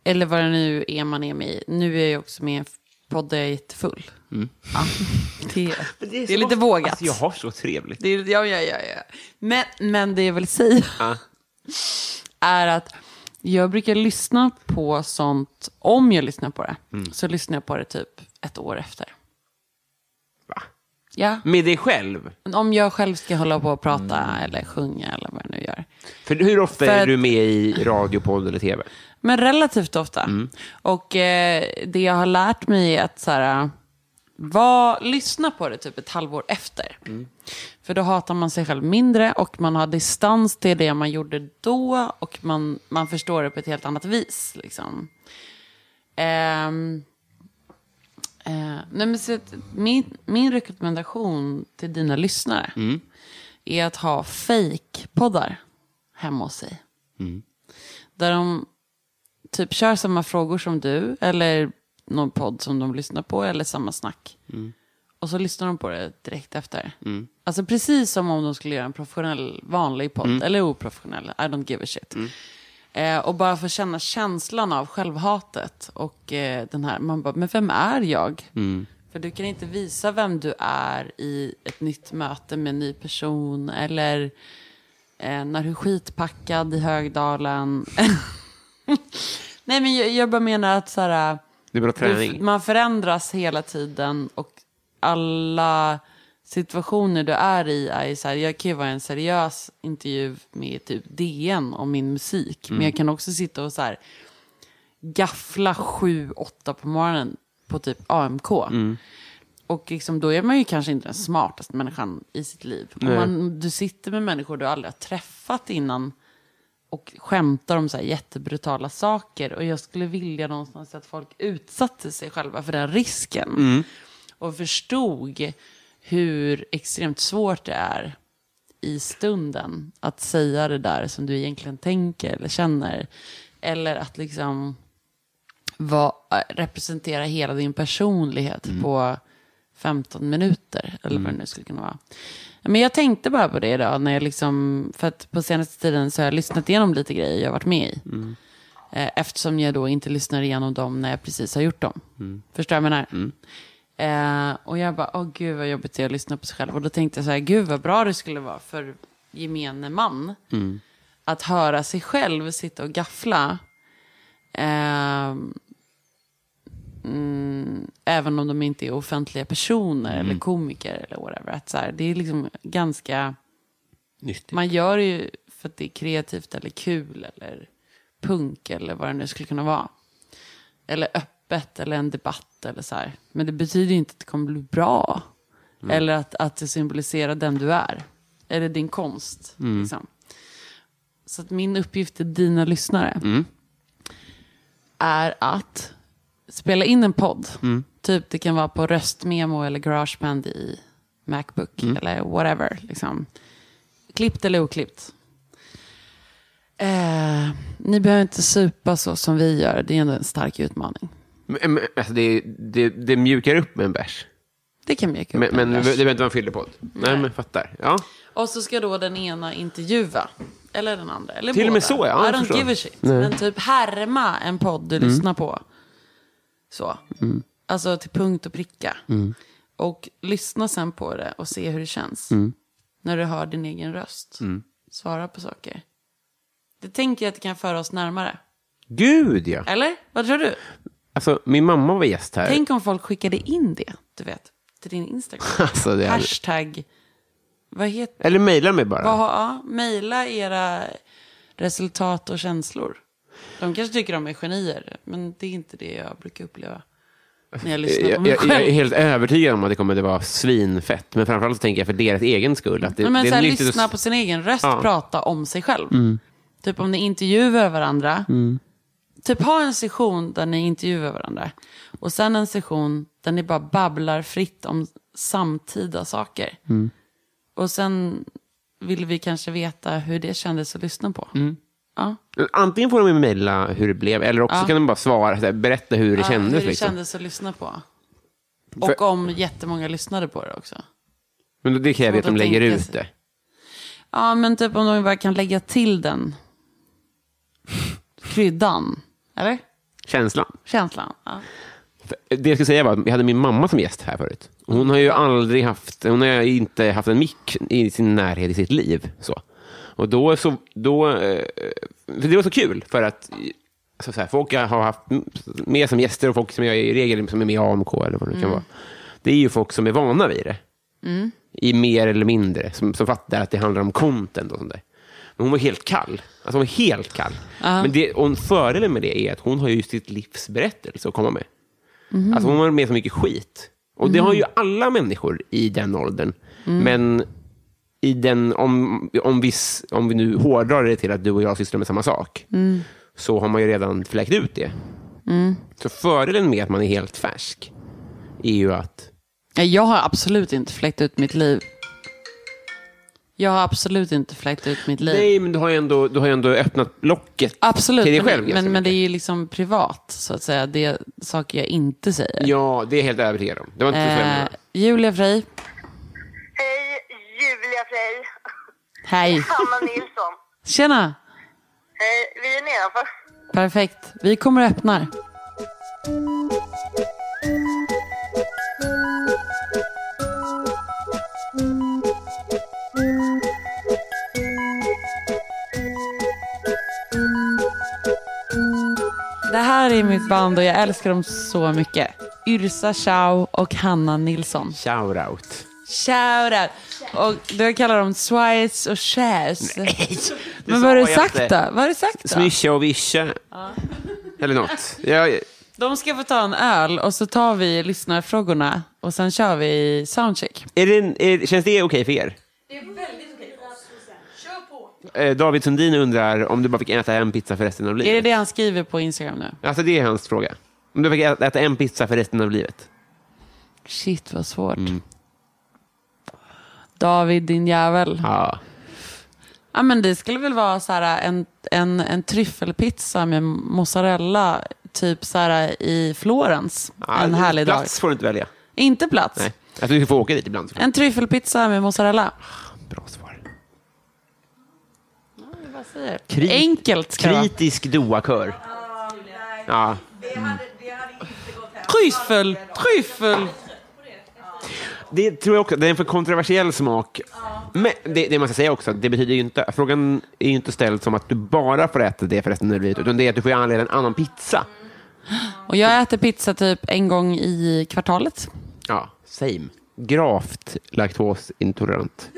Speaker 2: eller vad det nu är man är med i. Nu är jag ju också med i en podd där jag är jättefull. Ja, det, är- det är, lite vågat.
Speaker 1: Alltså, jag har så trevligt.
Speaker 2: Det är, ja, ja, ja, ja. Men, men det jag vill säga
Speaker 1: Ja.
Speaker 2: är att jag brukar lyssna på sånt, om jag lyssnar på det,
Speaker 1: Mm.
Speaker 2: så lyssnar jag på det typ ett år efter.
Speaker 1: Va?
Speaker 2: Ja.
Speaker 1: Med dig själv?
Speaker 2: Men Om jag själv ska hålla på och prata
Speaker 1: Mm.
Speaker 2: eller sjunga eller vad jag nu gör.
Speaker 1: För hur ofta
Speaker 2: För
Speaker 1: är
Speaker 2: att-
Speaker 1: du med i radio, podd eller tv?
Speaker 2: Men relativt ofta. Och eh, det jag har lärt mig är att så här, var, lyssna på det typ ett halvår efter. För då hatar man sig själv mindre och man har distans till det man gjorde då och man, man förstår det på ett helt annat vis. Liksom. Ehm, eh, nej men så att min, min rekommendation till dina lyssnare är att ha fake-poddar hemma hos sig. Där de typ kör samma frågor som du eller någon podd som de lyssnar på eller samma snack. Och så lyssnar de på det direkt efter. Alltså precis som om de skulle göra en professionell vanlig podd eller oprofessionell. I don't give a shit. Eh, och bara få känna känslan av självhatet och eh, den här, man bara, men vem är jag? För du kan inte visa vem du är i ett nytt möte med en ny person eller eh, när du är skitpackad i Högdalen. Nej men jag, jag bara menar att så här, eh,
Speaker 1: Det är bra
Speaker 2: du-
Speaker 1: träning.
Speaker 2: man förändras hela tiden och alla situationer du är i är ju så här, jag kan ju vara i en seriös intervju med typ DN om min musik, men jag kan också sitta och så här gaffla sju, åtta på morgonen på typ AMK. Och liksom, då är man ju kanske inte den smartaste människan i sitt liv. Om man, du sitter med människor du aldrig har träffat innan och skämtar om så här jättebrutala saker. Och jag skulle vilja någonstans att folk utsatte sig själva för den risken. Och förstod hur extremt svårt det är i stunden att säga det där som du egentligen tänker eller känner. Eller att liksom va, äh, representera hela din personlighet på 15 minuter. Eller vad det nu skulle kunna vara. Men jag tänkte bara på det idag. När jag liksom, för att på senaste tiden så har jag lyssnat igenom lite grejer jag varit med i. Eh, Eftersom jag då inte lyssnar igenom dem när jag precis har gjort dem. Förstår jag vad jag menar? Eh, och jag bara, åh gud vad jobbigt det är att lyssna på sig själv. Och då tänkte jag så här, gud vad bra det skulle vara för gemene man. Att höra sig själv sitta och gaffla. Ehm, mm, även om de inte är offentliga personer eller komiker eller whatever. Att så här, det är liksom ganska...
Speaker 1: Nyttigt.
Speaker 2: Man gör det ju för att det är kreativt eller kul eller punk eller vad det nu skulle kunna vara. Eller öppet eller en debatt eller så här. Men det betyder ju inte att det kommer bli bra. Eller att, att det symboliserar den du är. Eller din konst. Liksom. Så att min uppgift till dina lyssnare är att spela in en podd. Typ det kan vara på röstmemo eller garageband i Macbook eller whatever. Liksom. Klippt eller oklippt. Eh, ni behöver inte supa så som vi gör. Det är ändå en stark utmaning.
Speaker 1: Men, men, alltså, det, det, det mjukar upp med en bärs.
Speaker 2: Det kan bli kul.
Speaker 1: Men, men det behöver inte vara en fyllepodd. Nej, men fattar. Ja.
Speaker 2: Och så ska då den ena intervjua. Eller den andra. Eller
Speaker 1: Till och
Speaker 2: båda.
Speaker 1: med så, ja, jag
Speaker 2: I don't
Speaker 1: förstår. Mm.
Speaker 2: give a shit. Men typ härma en podd du lyssnar på. Så. Alltså till punkt och pricka.
Speaker 1: Mm.
Speaker 2: Och lyssna sen på det och se hur det känns.
Speaker 1: Mm.
Speaker 2: När du hör din egen röst. Svara på saker. Det tänker jag att det kan föra oss närmare.
Speaker 1: Gud, ja.
Speaker 2: Eller? Vad tror du?
Speaker 1: Alltså, min mamma var gäst här.
Speaker 2: Tänk om folk skickade in det, du vet. Till din Instagram.
Speaker 1: Alltså, det hade...
Speaker 2: Hashtag. Vad heter
Speaker 1: Eller mejla mig bara.
Speaker 2: Vad har- ja, mejla era resultat och känslor. De kanske tycker de är genier, men det är inte det jag brukar uppleva när jag lyssnar på
Speaker 1: Jag,
Speaker 2: mig
Speaker 1: jag,
Speaker 2: själv.
Speaker 1: jag är helt övertygad om att det kommer att vara svinfett. Men framförallt så tänker jag för deras egen skull. Att det,
Speaker 2: Nej, men
Speaker 1: det
Speaker 2: så här,
Speaker 1: nyttigt
Speaker 2: lyssna
Speaker 1: att...
Speaker 2: på sin egen röst,
Speaker 1: Ja. Mm.
Speaker 2: prata om sig själv. Typ om ni intervjuar varandra. Typ ha en session där ni intervjuar varandra. Och sen en session där ni bara babblar fritt om samtida saker.
Speaker 1: Mm.
Speaker 2: Och sen vill vi kanske veta hur det kändes att lyssna på.
Speaker 1: Mm.
Speaker 2: Ja.
Speaker 1: Antingen får de mejla hur det blev, eller också kan de bara svara, så här, berätta hur det
Speaker 2: Ja,
Speaker 1: kändes.
Speaker 2: Hur det
Speaker 1: liksom.
Speaker 2: kändes att lyssna på.
Speaker 1: För-
Speaker 2: Och om jättemånga lyssnade på det också.
Speaker 1: Men det kräver ju att
Speaker 2: Svårt
Speaker 1: de
Speaker 2: att
Speaker 1: lägger
Speaker 2: tänka
Speaker 1: ut
Speaker 2: sig.
Speaker 1: det.
Speaker 2: Ja, men typ om de bara kan lägga till den kryddan. Eller?
Speaker 1: Känslan.
Speaker 2: Känslan. Ja.
Speaker 1: Det jag skulle säga var att jag hade min mamma som gäst här förut. Hon har ju aldrig haft, hon har ju inte haft en mick i sin närhet i sitt liv. Så. Och då, så, då, eh, för det var så kul för att alltså så här, folk jag har haft med som gäster och folk som jag i regel som är med i AMK eller vad det nu kan
Speaker 2: Mm.
Speaker 1: vara. Det är ju folk som är vana vid det
Speaker 2: Mm.
Speaker 1: i mer eller mindre, som, som fattar att det handlar om content och sånt där. Men hon var helt kall. Alltså hon var helt kall.
Speaker 2: Ja.
Speaker 1: Men det, och fördelen med det är att hon har ju sitt livs berättelse att komma med.
Speaker 2: Mhm.
Speaker 1: Alltså hon har varit med så mycket skit. Och det
Speaker 2: Mhm.
Speaker 1: har ju alla människor i den åldern.
Speaker 2: Mm.
Speaker 1: Men i den, om, om, vi, s- om vi nu hårdrar det till att du och jag sysslar med samma sak,
Speaker 2: Mm.
Speaker 1: så har man ju redan fläkt ut det.
Speaker 2: Mm.
Speaker 1: Så fördelen med att man är helt färsk är ju att...
Speaker 2: Nej, Jag har absolut inte fläckt ut mitt liv. Jag har absolut inte fläckt ut mitt liv.
Speaker 1: Nej, men du har ju ändå, du har ju ändå öppnat locket
Speaker 2: Absolut,
Speaker 1: till dig
Speaker 2: men,
Speaker 1: själv. ganska
Speaker 2: men, men det är ju liksom privat, så att säga. Det är saker jag inte säger.
Speaker 1: Ja, det är jag helt övertygad om. Det var inte så
Speaker 2: Eh,
Speaker 1: jag
Speaker 2: Julia Frey.
Speaker 6: Julia Frey.
Speaker 2: Hej.
Speaker 6: Hanna Nilsson.
Speaker 2: Tjena.
Speaker 6: Hej, vi är nedanför.
Speaker 2: Perfekt. Vi kommer och öppnar. Det här är mitt band och jag älskar dem så mycket. Yrsa Chow och Hanna Nilsson.
Speaker 1: Shoutout.
Speaker 2: Shoutout. Och du kallar dem Swice och Chaz. Nej, Men vad har
Speaker 1: sa
Speaker 2: du
Speaker 1: jag
Speaker 2: sagt
Speaker 1: inte.
Speaker 2: då? Vad har du sagt då?
Speaker 1: Smisha och vischa. Eller något. Jag,
Speaker 2: De ska få ta en öl och så tar vi lyssnarfrågorna och sen kör vi soundcheck.
Speaker 1: är det, en- är, känns det okej för er?
Speaker 7: Det är väldigt okej. Kör på!
Speaker 1: Eh, David Sundin undrar om du bara fick äta en pizza för resten av
Speaker 2: Är det
Speaker 1: livet.
Speaker 2: det han skriver på Instagram nu?
Speaker 1: Alltså det är hans fråga. Om du fick ä- äta en pizza för resten av livet.
Speaker 2: Shit vad svårt. David din jävel.
Speaker 1: Ja.
Speaker 2: Ja men det skulle väl vara så här en, en, en tryffelpizza med mozzarella typ så här i Florens
Speaker 1: Ja,
Speaker 2: en härlig dag.
Speaker 1: Plats får du inte välja.
Speaker 2: Inte plats.
Speaker 1: Nej. Alltså du får åka dit ibland. såklart.
Speaker 2: En tryffelpizza med mozzarella.
Speaker 1: Bra svar.
Speaker 2: Vad säger du?
Speaker 1: Kri-
Speaker 2: Enkelt ska det vara.
Speaker 1: Kritisk doakör. Ja.
Speaker 2: Tryffel, tryffel.
Speaker 1: Det tror jag också. Det är en för kontroversiell smak. Men det, det man ska säga också, det betyder ju inte, frågan är ju inte ställd som att du bara får äta det för resten av livet, utan det är att du får anleda en annan pizza.
Speaker 2: Och jag äter pizza typ en gång i kvartalet.
Speaker 1: Ja, same. Gravt laktosintolerant.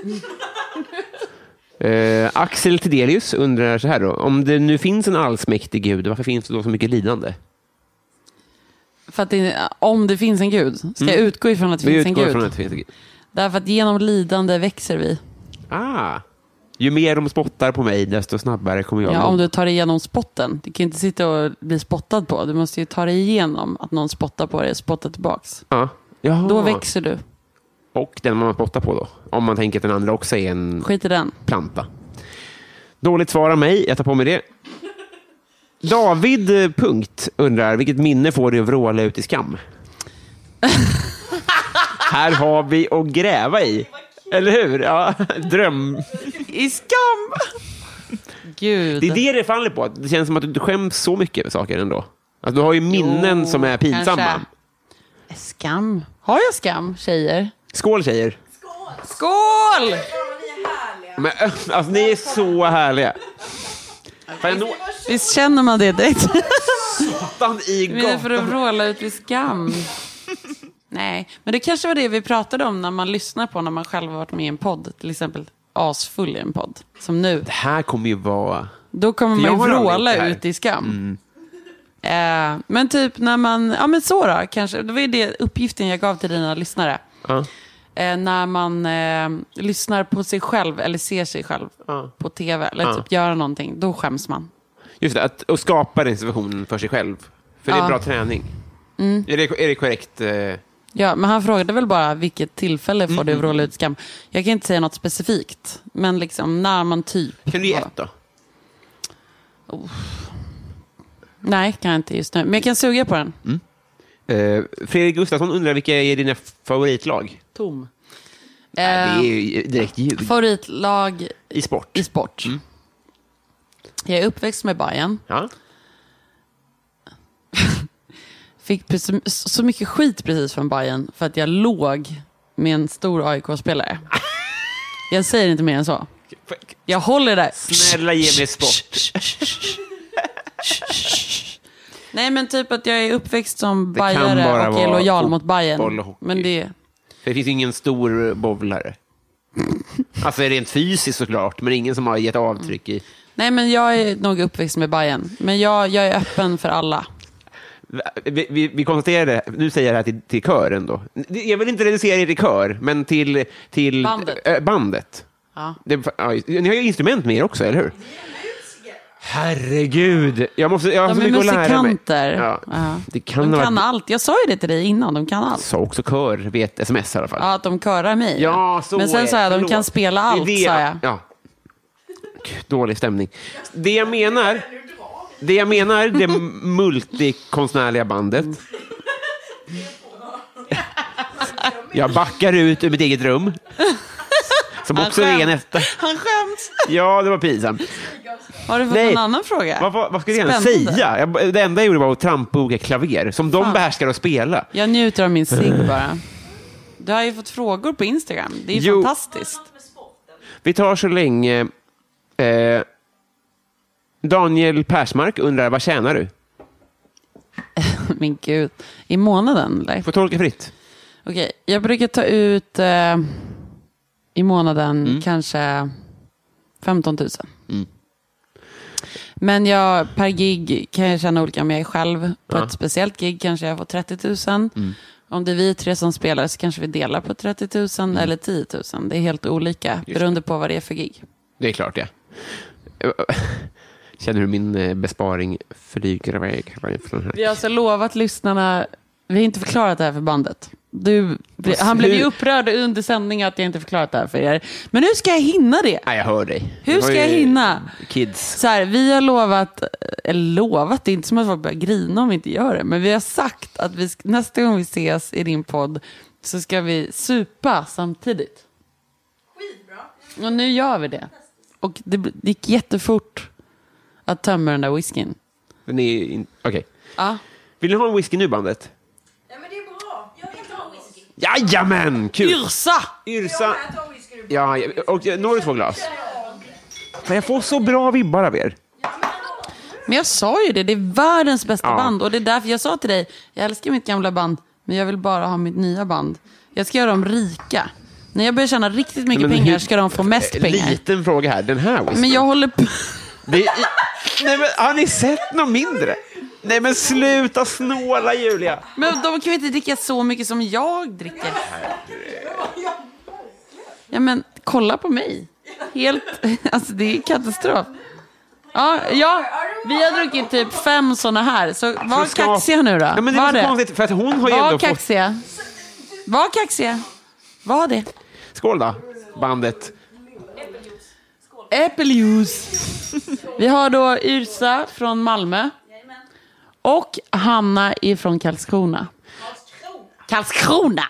Speaker 1: Eh, Axel Tidelius undrar så här då, om det nu finns en allsmäktig gud, varför finns det då så mycket lidande?
Speaker 2: För att det, om det finns en gud. Ska jag
Speaker 1: Mm.
Speaker 2: utgå ifrån att det
Speaker 1: Vi
Speaker 2: finns en
Speaker 1: utgår
Speaker 2: gud?
Speaker 1: från att det finns en gud.
Speaker 2: Därför att genom lidande växer vi.
Speaker 1: Ah, ju mer de spottar på mig, desto snabbare kommer jag
Speaker 2: Ja,
Speaker 1: nå-
Speaker 2: om du tar dig igenom spotten. Du kan ju inte sitta och bli spottad på. Du måste ju ta dig igenom att någon spottar på dig och spottar tillbaks.
Speaker 1: Ja. Jaha.
Speaker 2: Då växer du.
Speaker 1: Och den man spottar på då. Om man tänker att den andra också är en
Speaker 2: Skit i den.
Speaker 1: planta. Dåligt svar av mig, jag tar på mig det. David eh, punkt undrar, vilket minne får du att vråla ut i skam? Här har vi att gräva i. Eller hur? Ja, dröm.
Speaker 2: I skam! Gud.
Speaker 1: Det är det det faller på. att Det känns som att du skäms så mycket över saker ändå. Alltså, du har ju minnen
Speaker 2: Jo,
Speaker 1: som är pinsamma.
Speaker 2: kanske. Skam. Har jag skam, tjejer?
Speaker 1: Skål tjejer.
Speaker 2: Skål!
Speaker 1: Men, ö, alltså, ni är så härliga. Fan, jag når
Speaker 2: Visst känner man det direkt?
Speaker 1: satan i
Speaker 2: Men det är för att
Speaker 1: gatan.
Speaker 2: vråla ut i skam. Nej, men det kanske var det vi pratade om när man lyssnar på när man själv har varit med i en podd. Till exempel asfull i en podd, som nu.
Speaker 1: Det här kommer ju vara...
Speaker 2: Då kommer
Speaker 1: För
Speaker 2: man ju
Speaker 1: jag har aldrig gjort det
Speaker 2: vråla
Speaker 1: här. Mm.
Speaker 2: ut i skam. Eh, men typ när man, ja men så då kanske. Det var ju det uppgiften jag gav till dina lyssnare.
Speaker 1: Ja.
Speaker 2: Eh, när man eh, lyssnar på sig själv eller ser sig själv på tv eller
Speaker 1: Ja.
Speaker 2: typ göra någonting, då skäms man.
Speaker 1: Just det, att, att skapa den situationen för sig själv. För det är
Speaker 2: Ja.
Speaker 1: bra träning.
Speaker 2: Mm.
Speaker 1: Är, det, är det korrekt? eh?
Speaker 2: Ja, men han frågade väl bara vilket tillfälle får du vråla ut skam? Jag kan inte säga något specifikt, men liksom när man typ...
Speaker 1: Kan du ge ett då?
Speaker 2: Nej, kan jag inte just nu. Men jag kan suga på den.
Speaker 1: Eh, Fredrik Gustafsson undrar vilka är dina favoritlag?
Speaker 2: Tom.
Speaker 1: Nej, det är Mm. ju direkt ljug.
Speaker 2: Favoritlag
Speaker 1: I sport.
Speaker 2: Eh, I sport. Jag är uppväxt med Bayern.
Speaker 1: Ja.
Speaker 2: Fick precis- så mycket skit precis från Bayern för att jag låg med en stor AIK-spelare. Jag säger inte mer än så. Jag håller där.
Speaker 1: Snälla ge mig sport.
Speaker 2: Nej, men typ att jag är uppväxt som
Speaker 1: kan bara
Speaker 2: bajare och är
Speaker 1: vara
Speaker 2: lojal
Speaker 1: fotboll
Speaker 2: mot
Speaker 1: och
Speaker 2: Bayern.
Speaker 1: hockey.
Speaker 2: Men det...
Speaker 1: För det finns ju ingen stor bowlare. Alltså rent fysiskt såklart, men ingen som har gett avtryck i...
Speaker 2: Nej, men jag är nog uppväxt med Bayern. Men jag, jag är öppen för alla.
Speaker 1: Vi, vi, vi konstaterade, nu säger jag det här till, till kören då. Jag vill inte reducera er till kör, men till... till
Speaker 2: Bandet.
Speaker 1: Äh, bandet.
Speaker 2: Ja.
Speaker 1: Det, ja, just- ni har ju instrument med er också, eller hur? Herregud, jag, måste, jag har
Speaker 2: De
Speaker 1: så
Speaker 2: är
Speaker 1: mycket att lära mig.
Speaker 2: musikanter.
Speaker 1: Ja.
Speaker 2: Ja.
Speaker 1: Det kan
Speaker 2: De
Speaker 1: ha
Speaker 2: kan
Speaker 1: varit...
Speaker 2: allt. Jag sa ju det till dig innan, de kan allt.
Speaker 1: Sa också kör vid ett sms i alla fall.
Speaker 2: Ja, att de körar mig.
Speaker 1: Ja, så
Speaker 2: Eh, Men
Speaker 1: är
Speaker 2: sen
Speaker 1: det.
Speaker 2: sa jag, de
Speaker 1: Förlåt.
Speaker 2: kan spela
Speaker 1: Det är
Speaker 2: allt,
Speaker 1: det
Speaker 2: sa jag.
Speaker 1: Ja. Gud, Dålig stämning. Det jag menar, det jag menar, det multikonstnärliga bandet. Jag backar ut ur mitt eget rum. Som också
Speaker 2: Han
Speaker 1: är
Speaker 2: skäm-
Speaker 1: nästa.
Speaker 2: Han skäms.
Speaker 1: Ja, det var pinsamt.
Speaker 2: Har du fått
Speaker 1: Nej.
Speaker 2: någon annan fråga?
Speaker 1: Vad, vad, vad ska jag ens
Speaker 2: Spännande.
Speaker 1: säga? Jag, det enda jag gjorde var att trampa olika klaver, som de behärskar att spela.
Speaker 2: Jag njuter av min
Speaker 1: Eh.
Speaker 2: cigg bara. Du har ju fått frågor på Instagram. Det är ju
Speaker 1: Jo.
Speaker 2: fantastiskt.
Speaker 1: Vi tar så länge... Eh, Daniel Persmark undrar, vad tjänar du?
Speaker 2: Min gud. I månaden, eller?
Speaker 1: Får tolka fritt.
Speaker 2: Okej, jag brukar ta ut eh, i månaden kanske 15 000. Men jag, per gig kan jag känna olika om jag är själv. På ett speciellt gig kanske jag får 30 000. Om det är vi tre som spelar så kanske vi delar på 30 000 eller 10 000. Det är helt olika beroende på vad det är för gig.
Speaker 1: Det är klart, ja. Känner hur min eh, besparing flyger iväg? från här?
Speaker 2: Vi har alltså lovat lyssnarna, vi har inte förklarat det här för bandet. Du, han blev ju upprörd under sändningen att jag inte förklarat det här för er. Men nu ska jag hinna det.
Speaker 1: Nej, jag hör dig.
Speaker 2: Hur
Speaker 1: Det var
Speaker 2: ska
Speaker 1: ju
Speaker 2: jag hinna?
Speaker 1: Kids.
Speaker 2: Så här, vi har lovat, eh, eller lovat, det är inte som att folk börjar grina om vi inte gör det, men vi har sagt att vi, sk- nästa gång vi ses i din podd så ska vi supa samtidigt. Skitbra. Och nu gör vi det. Och det, bl- det gick jättefort att tömma den där whiskyn.
Speaker 1: Men det är in- Okej.
Speaker 2: Ja.
Speaker 1: Vill ni ha en whisky nu, bandet?
Speaker 7: Ja, men det är bra. Jag vill ta whisky.
Speaker 1: Jajamän! Kul!
Speaker 2: Yrsa!
Speaker 1: Yrsa.
Speaker 7: Jag tar whisky nu.
Speaker 1: Ja, ja, och eh, några två glas. För jag får så bra vibbar av er.
Speaker 2: Men jag sa ju det, det är världens bästa
Speaker 1: Ja.
Speaker 2: band. Och det är därför jag sa till dig, jag älskar mitt gamla band, men jag vill bara ha mitt nya band. Jag ska göra dem rika. När jag börjar tjäna riktigt mycket
Speaker 1: Men
Speaker 2: pengar
Speaker 1: hur-
Speaker 2: ska de få mest
Speaker 1: Eh,
Speaker 2: pengar.
Speaker 1: Liten fråga här. Den här whiskyn.
Speaker 2: Men jag håller på...
Speaker 1: Det är... Nej, men, har ni sett något mindre? Nej, men sluta snåla, Julia.
Speaker 2: Men de kan ju inte dricka så mycket som jag dricker. Ja men kolla på mig. Helt, alltså det är katastrof. Ja, ja, vi har druckit typ fem sådana här, så var
Speaker 1: Ska-
Speaker 2: kaxiga nu då.
Speaker 1: Ja, men det
Speaker 2: var
Speaker 1: är så konstigt, för att hon har ju
Speaker 2: Var
Speaker 1: ändå fått...
Speaker 2: kaxiga. Var kaxiga. Var det.
Speaker 1: Skål då, bandet.
Speaker 2: Äppeljuice. Vi har då Yrsa från Malmö. Och Hanna ifrån Karlskrona. Karlskrona.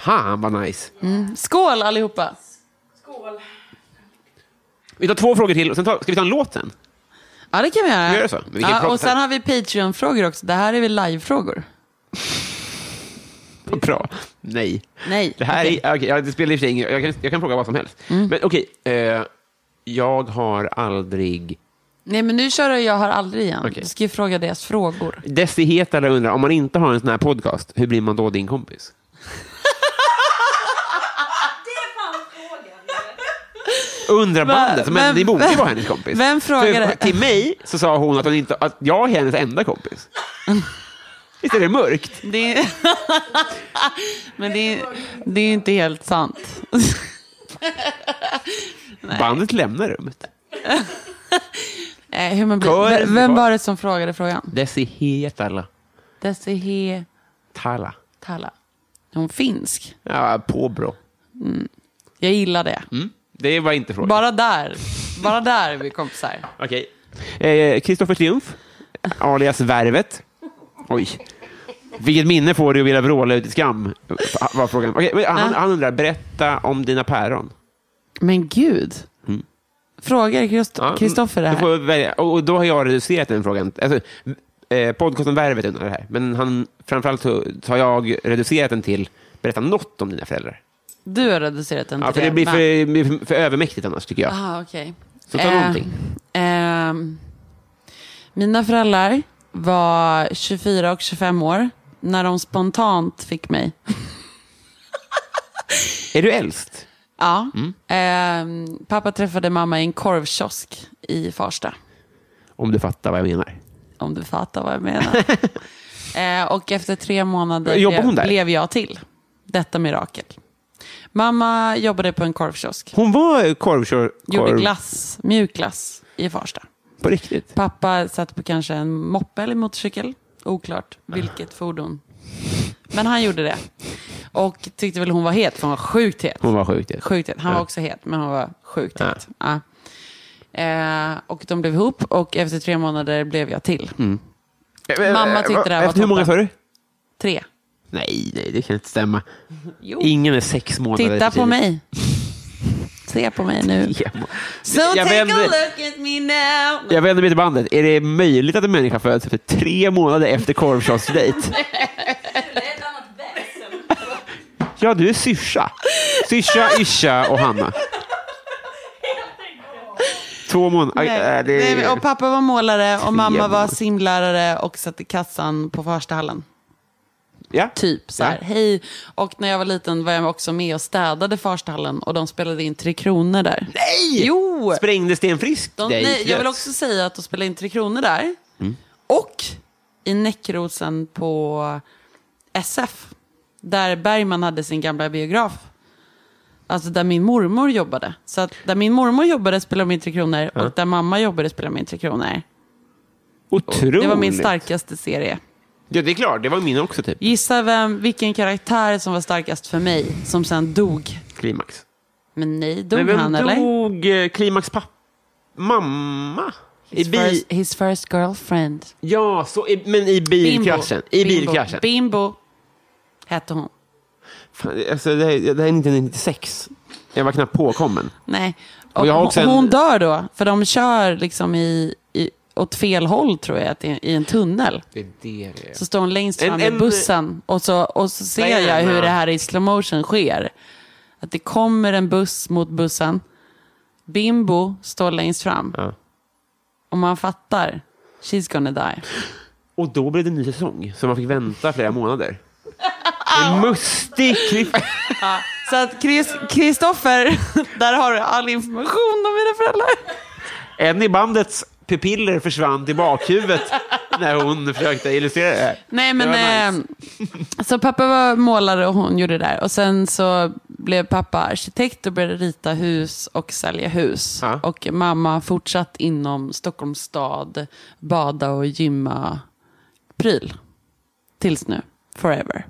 Speaker 1: Fan vad nice.
Speaker 2: Skål allihopa.
Speaker 7: Skål.
Speaker 1: Vi tar två frågor till, och sen tar, ska vi ta en låt sen?
Speaker 2: Ja, det kan vi göra.
Speaker 1: Vi gör så. Vi kan
Speaker 2: ja,
Speaker 1: prata.
Speaker 2: och sen har vi Patreon-frågor också. Det här är väl live-frågor?
Speaker 1: Vad Bra. Nej.
Speaker 2: Nej.
Speaker 1: Det här
Speaker 2: okej. Mm.
Speaker 1: är, okej, ja, det spelar i och för sig ingen jag kan, jag kan fråga vad som helst. Men okej, eh, jag har aldrig...
Speaker 2: Nej, men nu kör du Jag har aldrig igen.
Speaker 1: Okej.
Speaker 2: Du ska ju fråga deras frågor.
Speaker 1: Desi Hetala undrar, om man inte har en sån här podcast, hur blir man då din kompis?
Speaker 7: Det är fan frågan.
Speaker 1: Undrar bandet, men
Speaker 2: vem-
Speaker 1: ni borde ju
Speaker 2: vem-
Speaker 1: vara hennes kompis.
Speaker 2: vem frågade?
Speaker 1: För Till mig så sa hon att, hon inte, att jag är hennes enda kompis. Visst är det mörkt?
Speaker 2: Det är... men det är, det är inte helt sant.
Speaker 1: Bandet lämnar rummet.
Speaker 2: Eh, Hur man blir...
Speaker 1: Kör.
Speaker 2: Vem- Vem var det som frågade frågan?
Speaker 1: Desi Hetala.
Speaker 2: Desihe
Speaker 1: Tala.
Speaker 2: Tala. Är Hon finsk.
Speaker 1: Ja, påbrå.
Speaker 2: Jag gillar det.
Speaker 1: Mm. Det var inte frågan.
Speaker 2: Bara där. Bara där är vi kompisar.
Speaker 1: Okej. Eh, Kristoffer Triumf, alias Värvet. Oj. Vilket minne får du att vilja vråla ut i skam? Var frågan. Okej, men han, han undrar, berätta om dina päron.
Speaker 2: Men gud. Frågar Krist- Kristoffer det
Speaker 1: Mm. Du får
Speaker 2: här?
Speaker 1: välja. Och och då har jag reducerat den frågan. Alltså, eh, podcasten Värvet undrar det här, men han, framförallt så så har jag reducerat den till berätta något om dina föräldrar.
Speaker 2: Du har reducerat den
Speaker 1: Ja, för
Speaker 2: till
Speaker 1: det blir för,
Speaker 2: men-
Speaker 1: det blir för övermäktigt annars, tycker jag.
Speaker 2: Aha, Ah, okej. Eh,
Speaker 1: Så ta någonting.
Speaker 2: ehm, mina föräldrar var 24 och 25 år när de spontant fick mig.
Speaker 1: Är du äldst?
Speaker 2: Ja.
Speaker 1: Mm.
Speaker 2: Ehm, pappa träffade mamma i en korvkiosk i Farsta.
Speaker 1: Om du fattar vad jag menar.
Speaker 2: Om du fattar vad jag menar. eh, och efter tre månader
Speaker 1: Jobbar hon
Speaker 2: blev,
Speaker 1: där?
Speaker 2: blev jag till detta mirakel. Mamma jobbade på en korvkiosk.
Speaker 1: Hon var korvkör...
Speaker 2: Gjorde
Speaker 1: korv-
Speaker 2: glass, mjuk glass i Farsta.
Speaker 1: På riktigt?
Speaker 2: Pappa satt på kanske en moppe eller motorcykel. Oklart vilket fordon. Men han gjorde det. Och tyckte väl hon var het, för hon var sjukt het.
Speaker 1: Hon var sjukt het.
Speaker 2: Sjukt het. Han var
Speaker 1: Ja.
Speaker 2: också het, men hon var sjukt het. Ja. Eh, och de blev ihop och efter tre månader blev jag till.
Speaker 1: Mm.
Speaker 2: Mamma tyckte det här var
Speaker 1: Efter hur många
Speaker 2: toppen.
Speaker 1: sa du?
Speaker 2: Tre.
Speaker 1: Nej, nej, det kan inte stämma.
Speaker 2: Jo.
Speaker 1: Ingen är sex månader
Speaker 2: Titta
Speaker 1: för
Speaker 2: på
Speaker 1: tidigt.
Speaker 2: mig. Se på mig nu. So
Speaker 1: Jag
Speaker 2: take a
Speaker 1: vänder-
Speaker 2: look at me now.
Speaker 1: Jag vänder mig till bandet. Är det möjligt att en människa föds efter tre månader efter korvkiosksdejt? Ja, du är syrsa. Syrsa, Yrsa och Hanna. Två månader. Aj,
Speaker 2: Nej,
Speaker 1: äh, det är-
Speaker 2: nej, och pappa var målare och mamma var
Speaker 1: månader.
Speaker 2: simlärare och satt i kassan på Farstahallen.
Speaker 1: Ja.
Speaker 2: Typ så här,
Speaker 1: Ja.
Speaker 2: hej. Och när jag var liten var jag också med och städade Farstahallen och de spelade in Tre Kronor där.
Speaker 1: Nej!
Speaker 2: Jo!
Speaker 1: Sprängde Sten Frisk
Speaker 2: De,
Speaker 1: dig?
Speaker 2: nej, jag vill
Speaker 1: Yes. Mm.
Speaker 2: också säga att de spelade in Tre Kronor där. Och i Näckrosen på SF. Där Bergman hade sin gamla biograf. Alltså där min mormor jobbade. Så att där min mormor jobbade spelade de in Tre Kronor. Och där mamma jobbade spelade de in Tre Kronor.
Speaker 1: Otroligt.
Speaker 2: Det var min starkaste serie.
Speaker 1: Ja, det är klart. Det var min också, typ.
Speaker 2: Gissa vem, vilken karaktär som var starkast för mig, som sen dog.
Speaker 1: Klimax.
Speaker 2: Men nej, dog
Speaker 1: Men vem
Speaker 2: han eller?
Speaker 1: dog eh, Klimax pappa? Mamma? I
Speaker 2: His
Speaker 1: bil...
Speaker 2: first, his first girlfriend.
Speaker 1: Ja, så i, men i bilkraschen. I bilkraschen.
Speaker 2: Bimbo. Bimbo hette hon.
Speaker 1: Fan, Alltså, det, här, det här är 1996. Jag var knappt påkommen.
Speaker 2: Nej.
Speaker 1: Och
Speaker 2: Och
Speaker 1: jag har
Speaker 2: hon,
Speaker 1: också en-
Speaker 2: hon dör då, för de kör liksom i, i, åt fel håll tror jag, att i, i en tunnel.
Speaker 1: Det är det det är.
Speaker 2: Så står hon längst
Speaker 1: En-
Speaker 2: fram
Speaker 1: en-
Speaker 2: i bussen och så, och så ser jag
Speaker 1: Diana.
Speaker 2: hur det här i slow motion sker. Att det kommer en buss mot bussen. Bimbo står längst fram.
Speaker 1: Ja.
Speaker 2: Och man fattar. She's gonna die.
Speaker 1: Och då blev det en ny säsong, så man fick vänta flera månader. En mustig kliff...
Speaker 2: Ja, så att Chris- Kristoffer, där har du all information om mina föräldrar.
Speaker 1: En i bandets pupiller försvann till bakhuvudet när hon försökte illustrera det här.
Speaker 2: Nej,
Speaker 1: Det
Speaker 2: men
Speaker 1: var nice.
Speaker 2: eh, så pappa var målare och hon gjorde det där. Och sen så blev pappa arkitekt och började rita hus och sälja hus.
Speaker 1: Ja.
Speaker 2: Och mamma har fortsatt inom Stockholms stad, bada och gymma pryl. Tills nu, forever.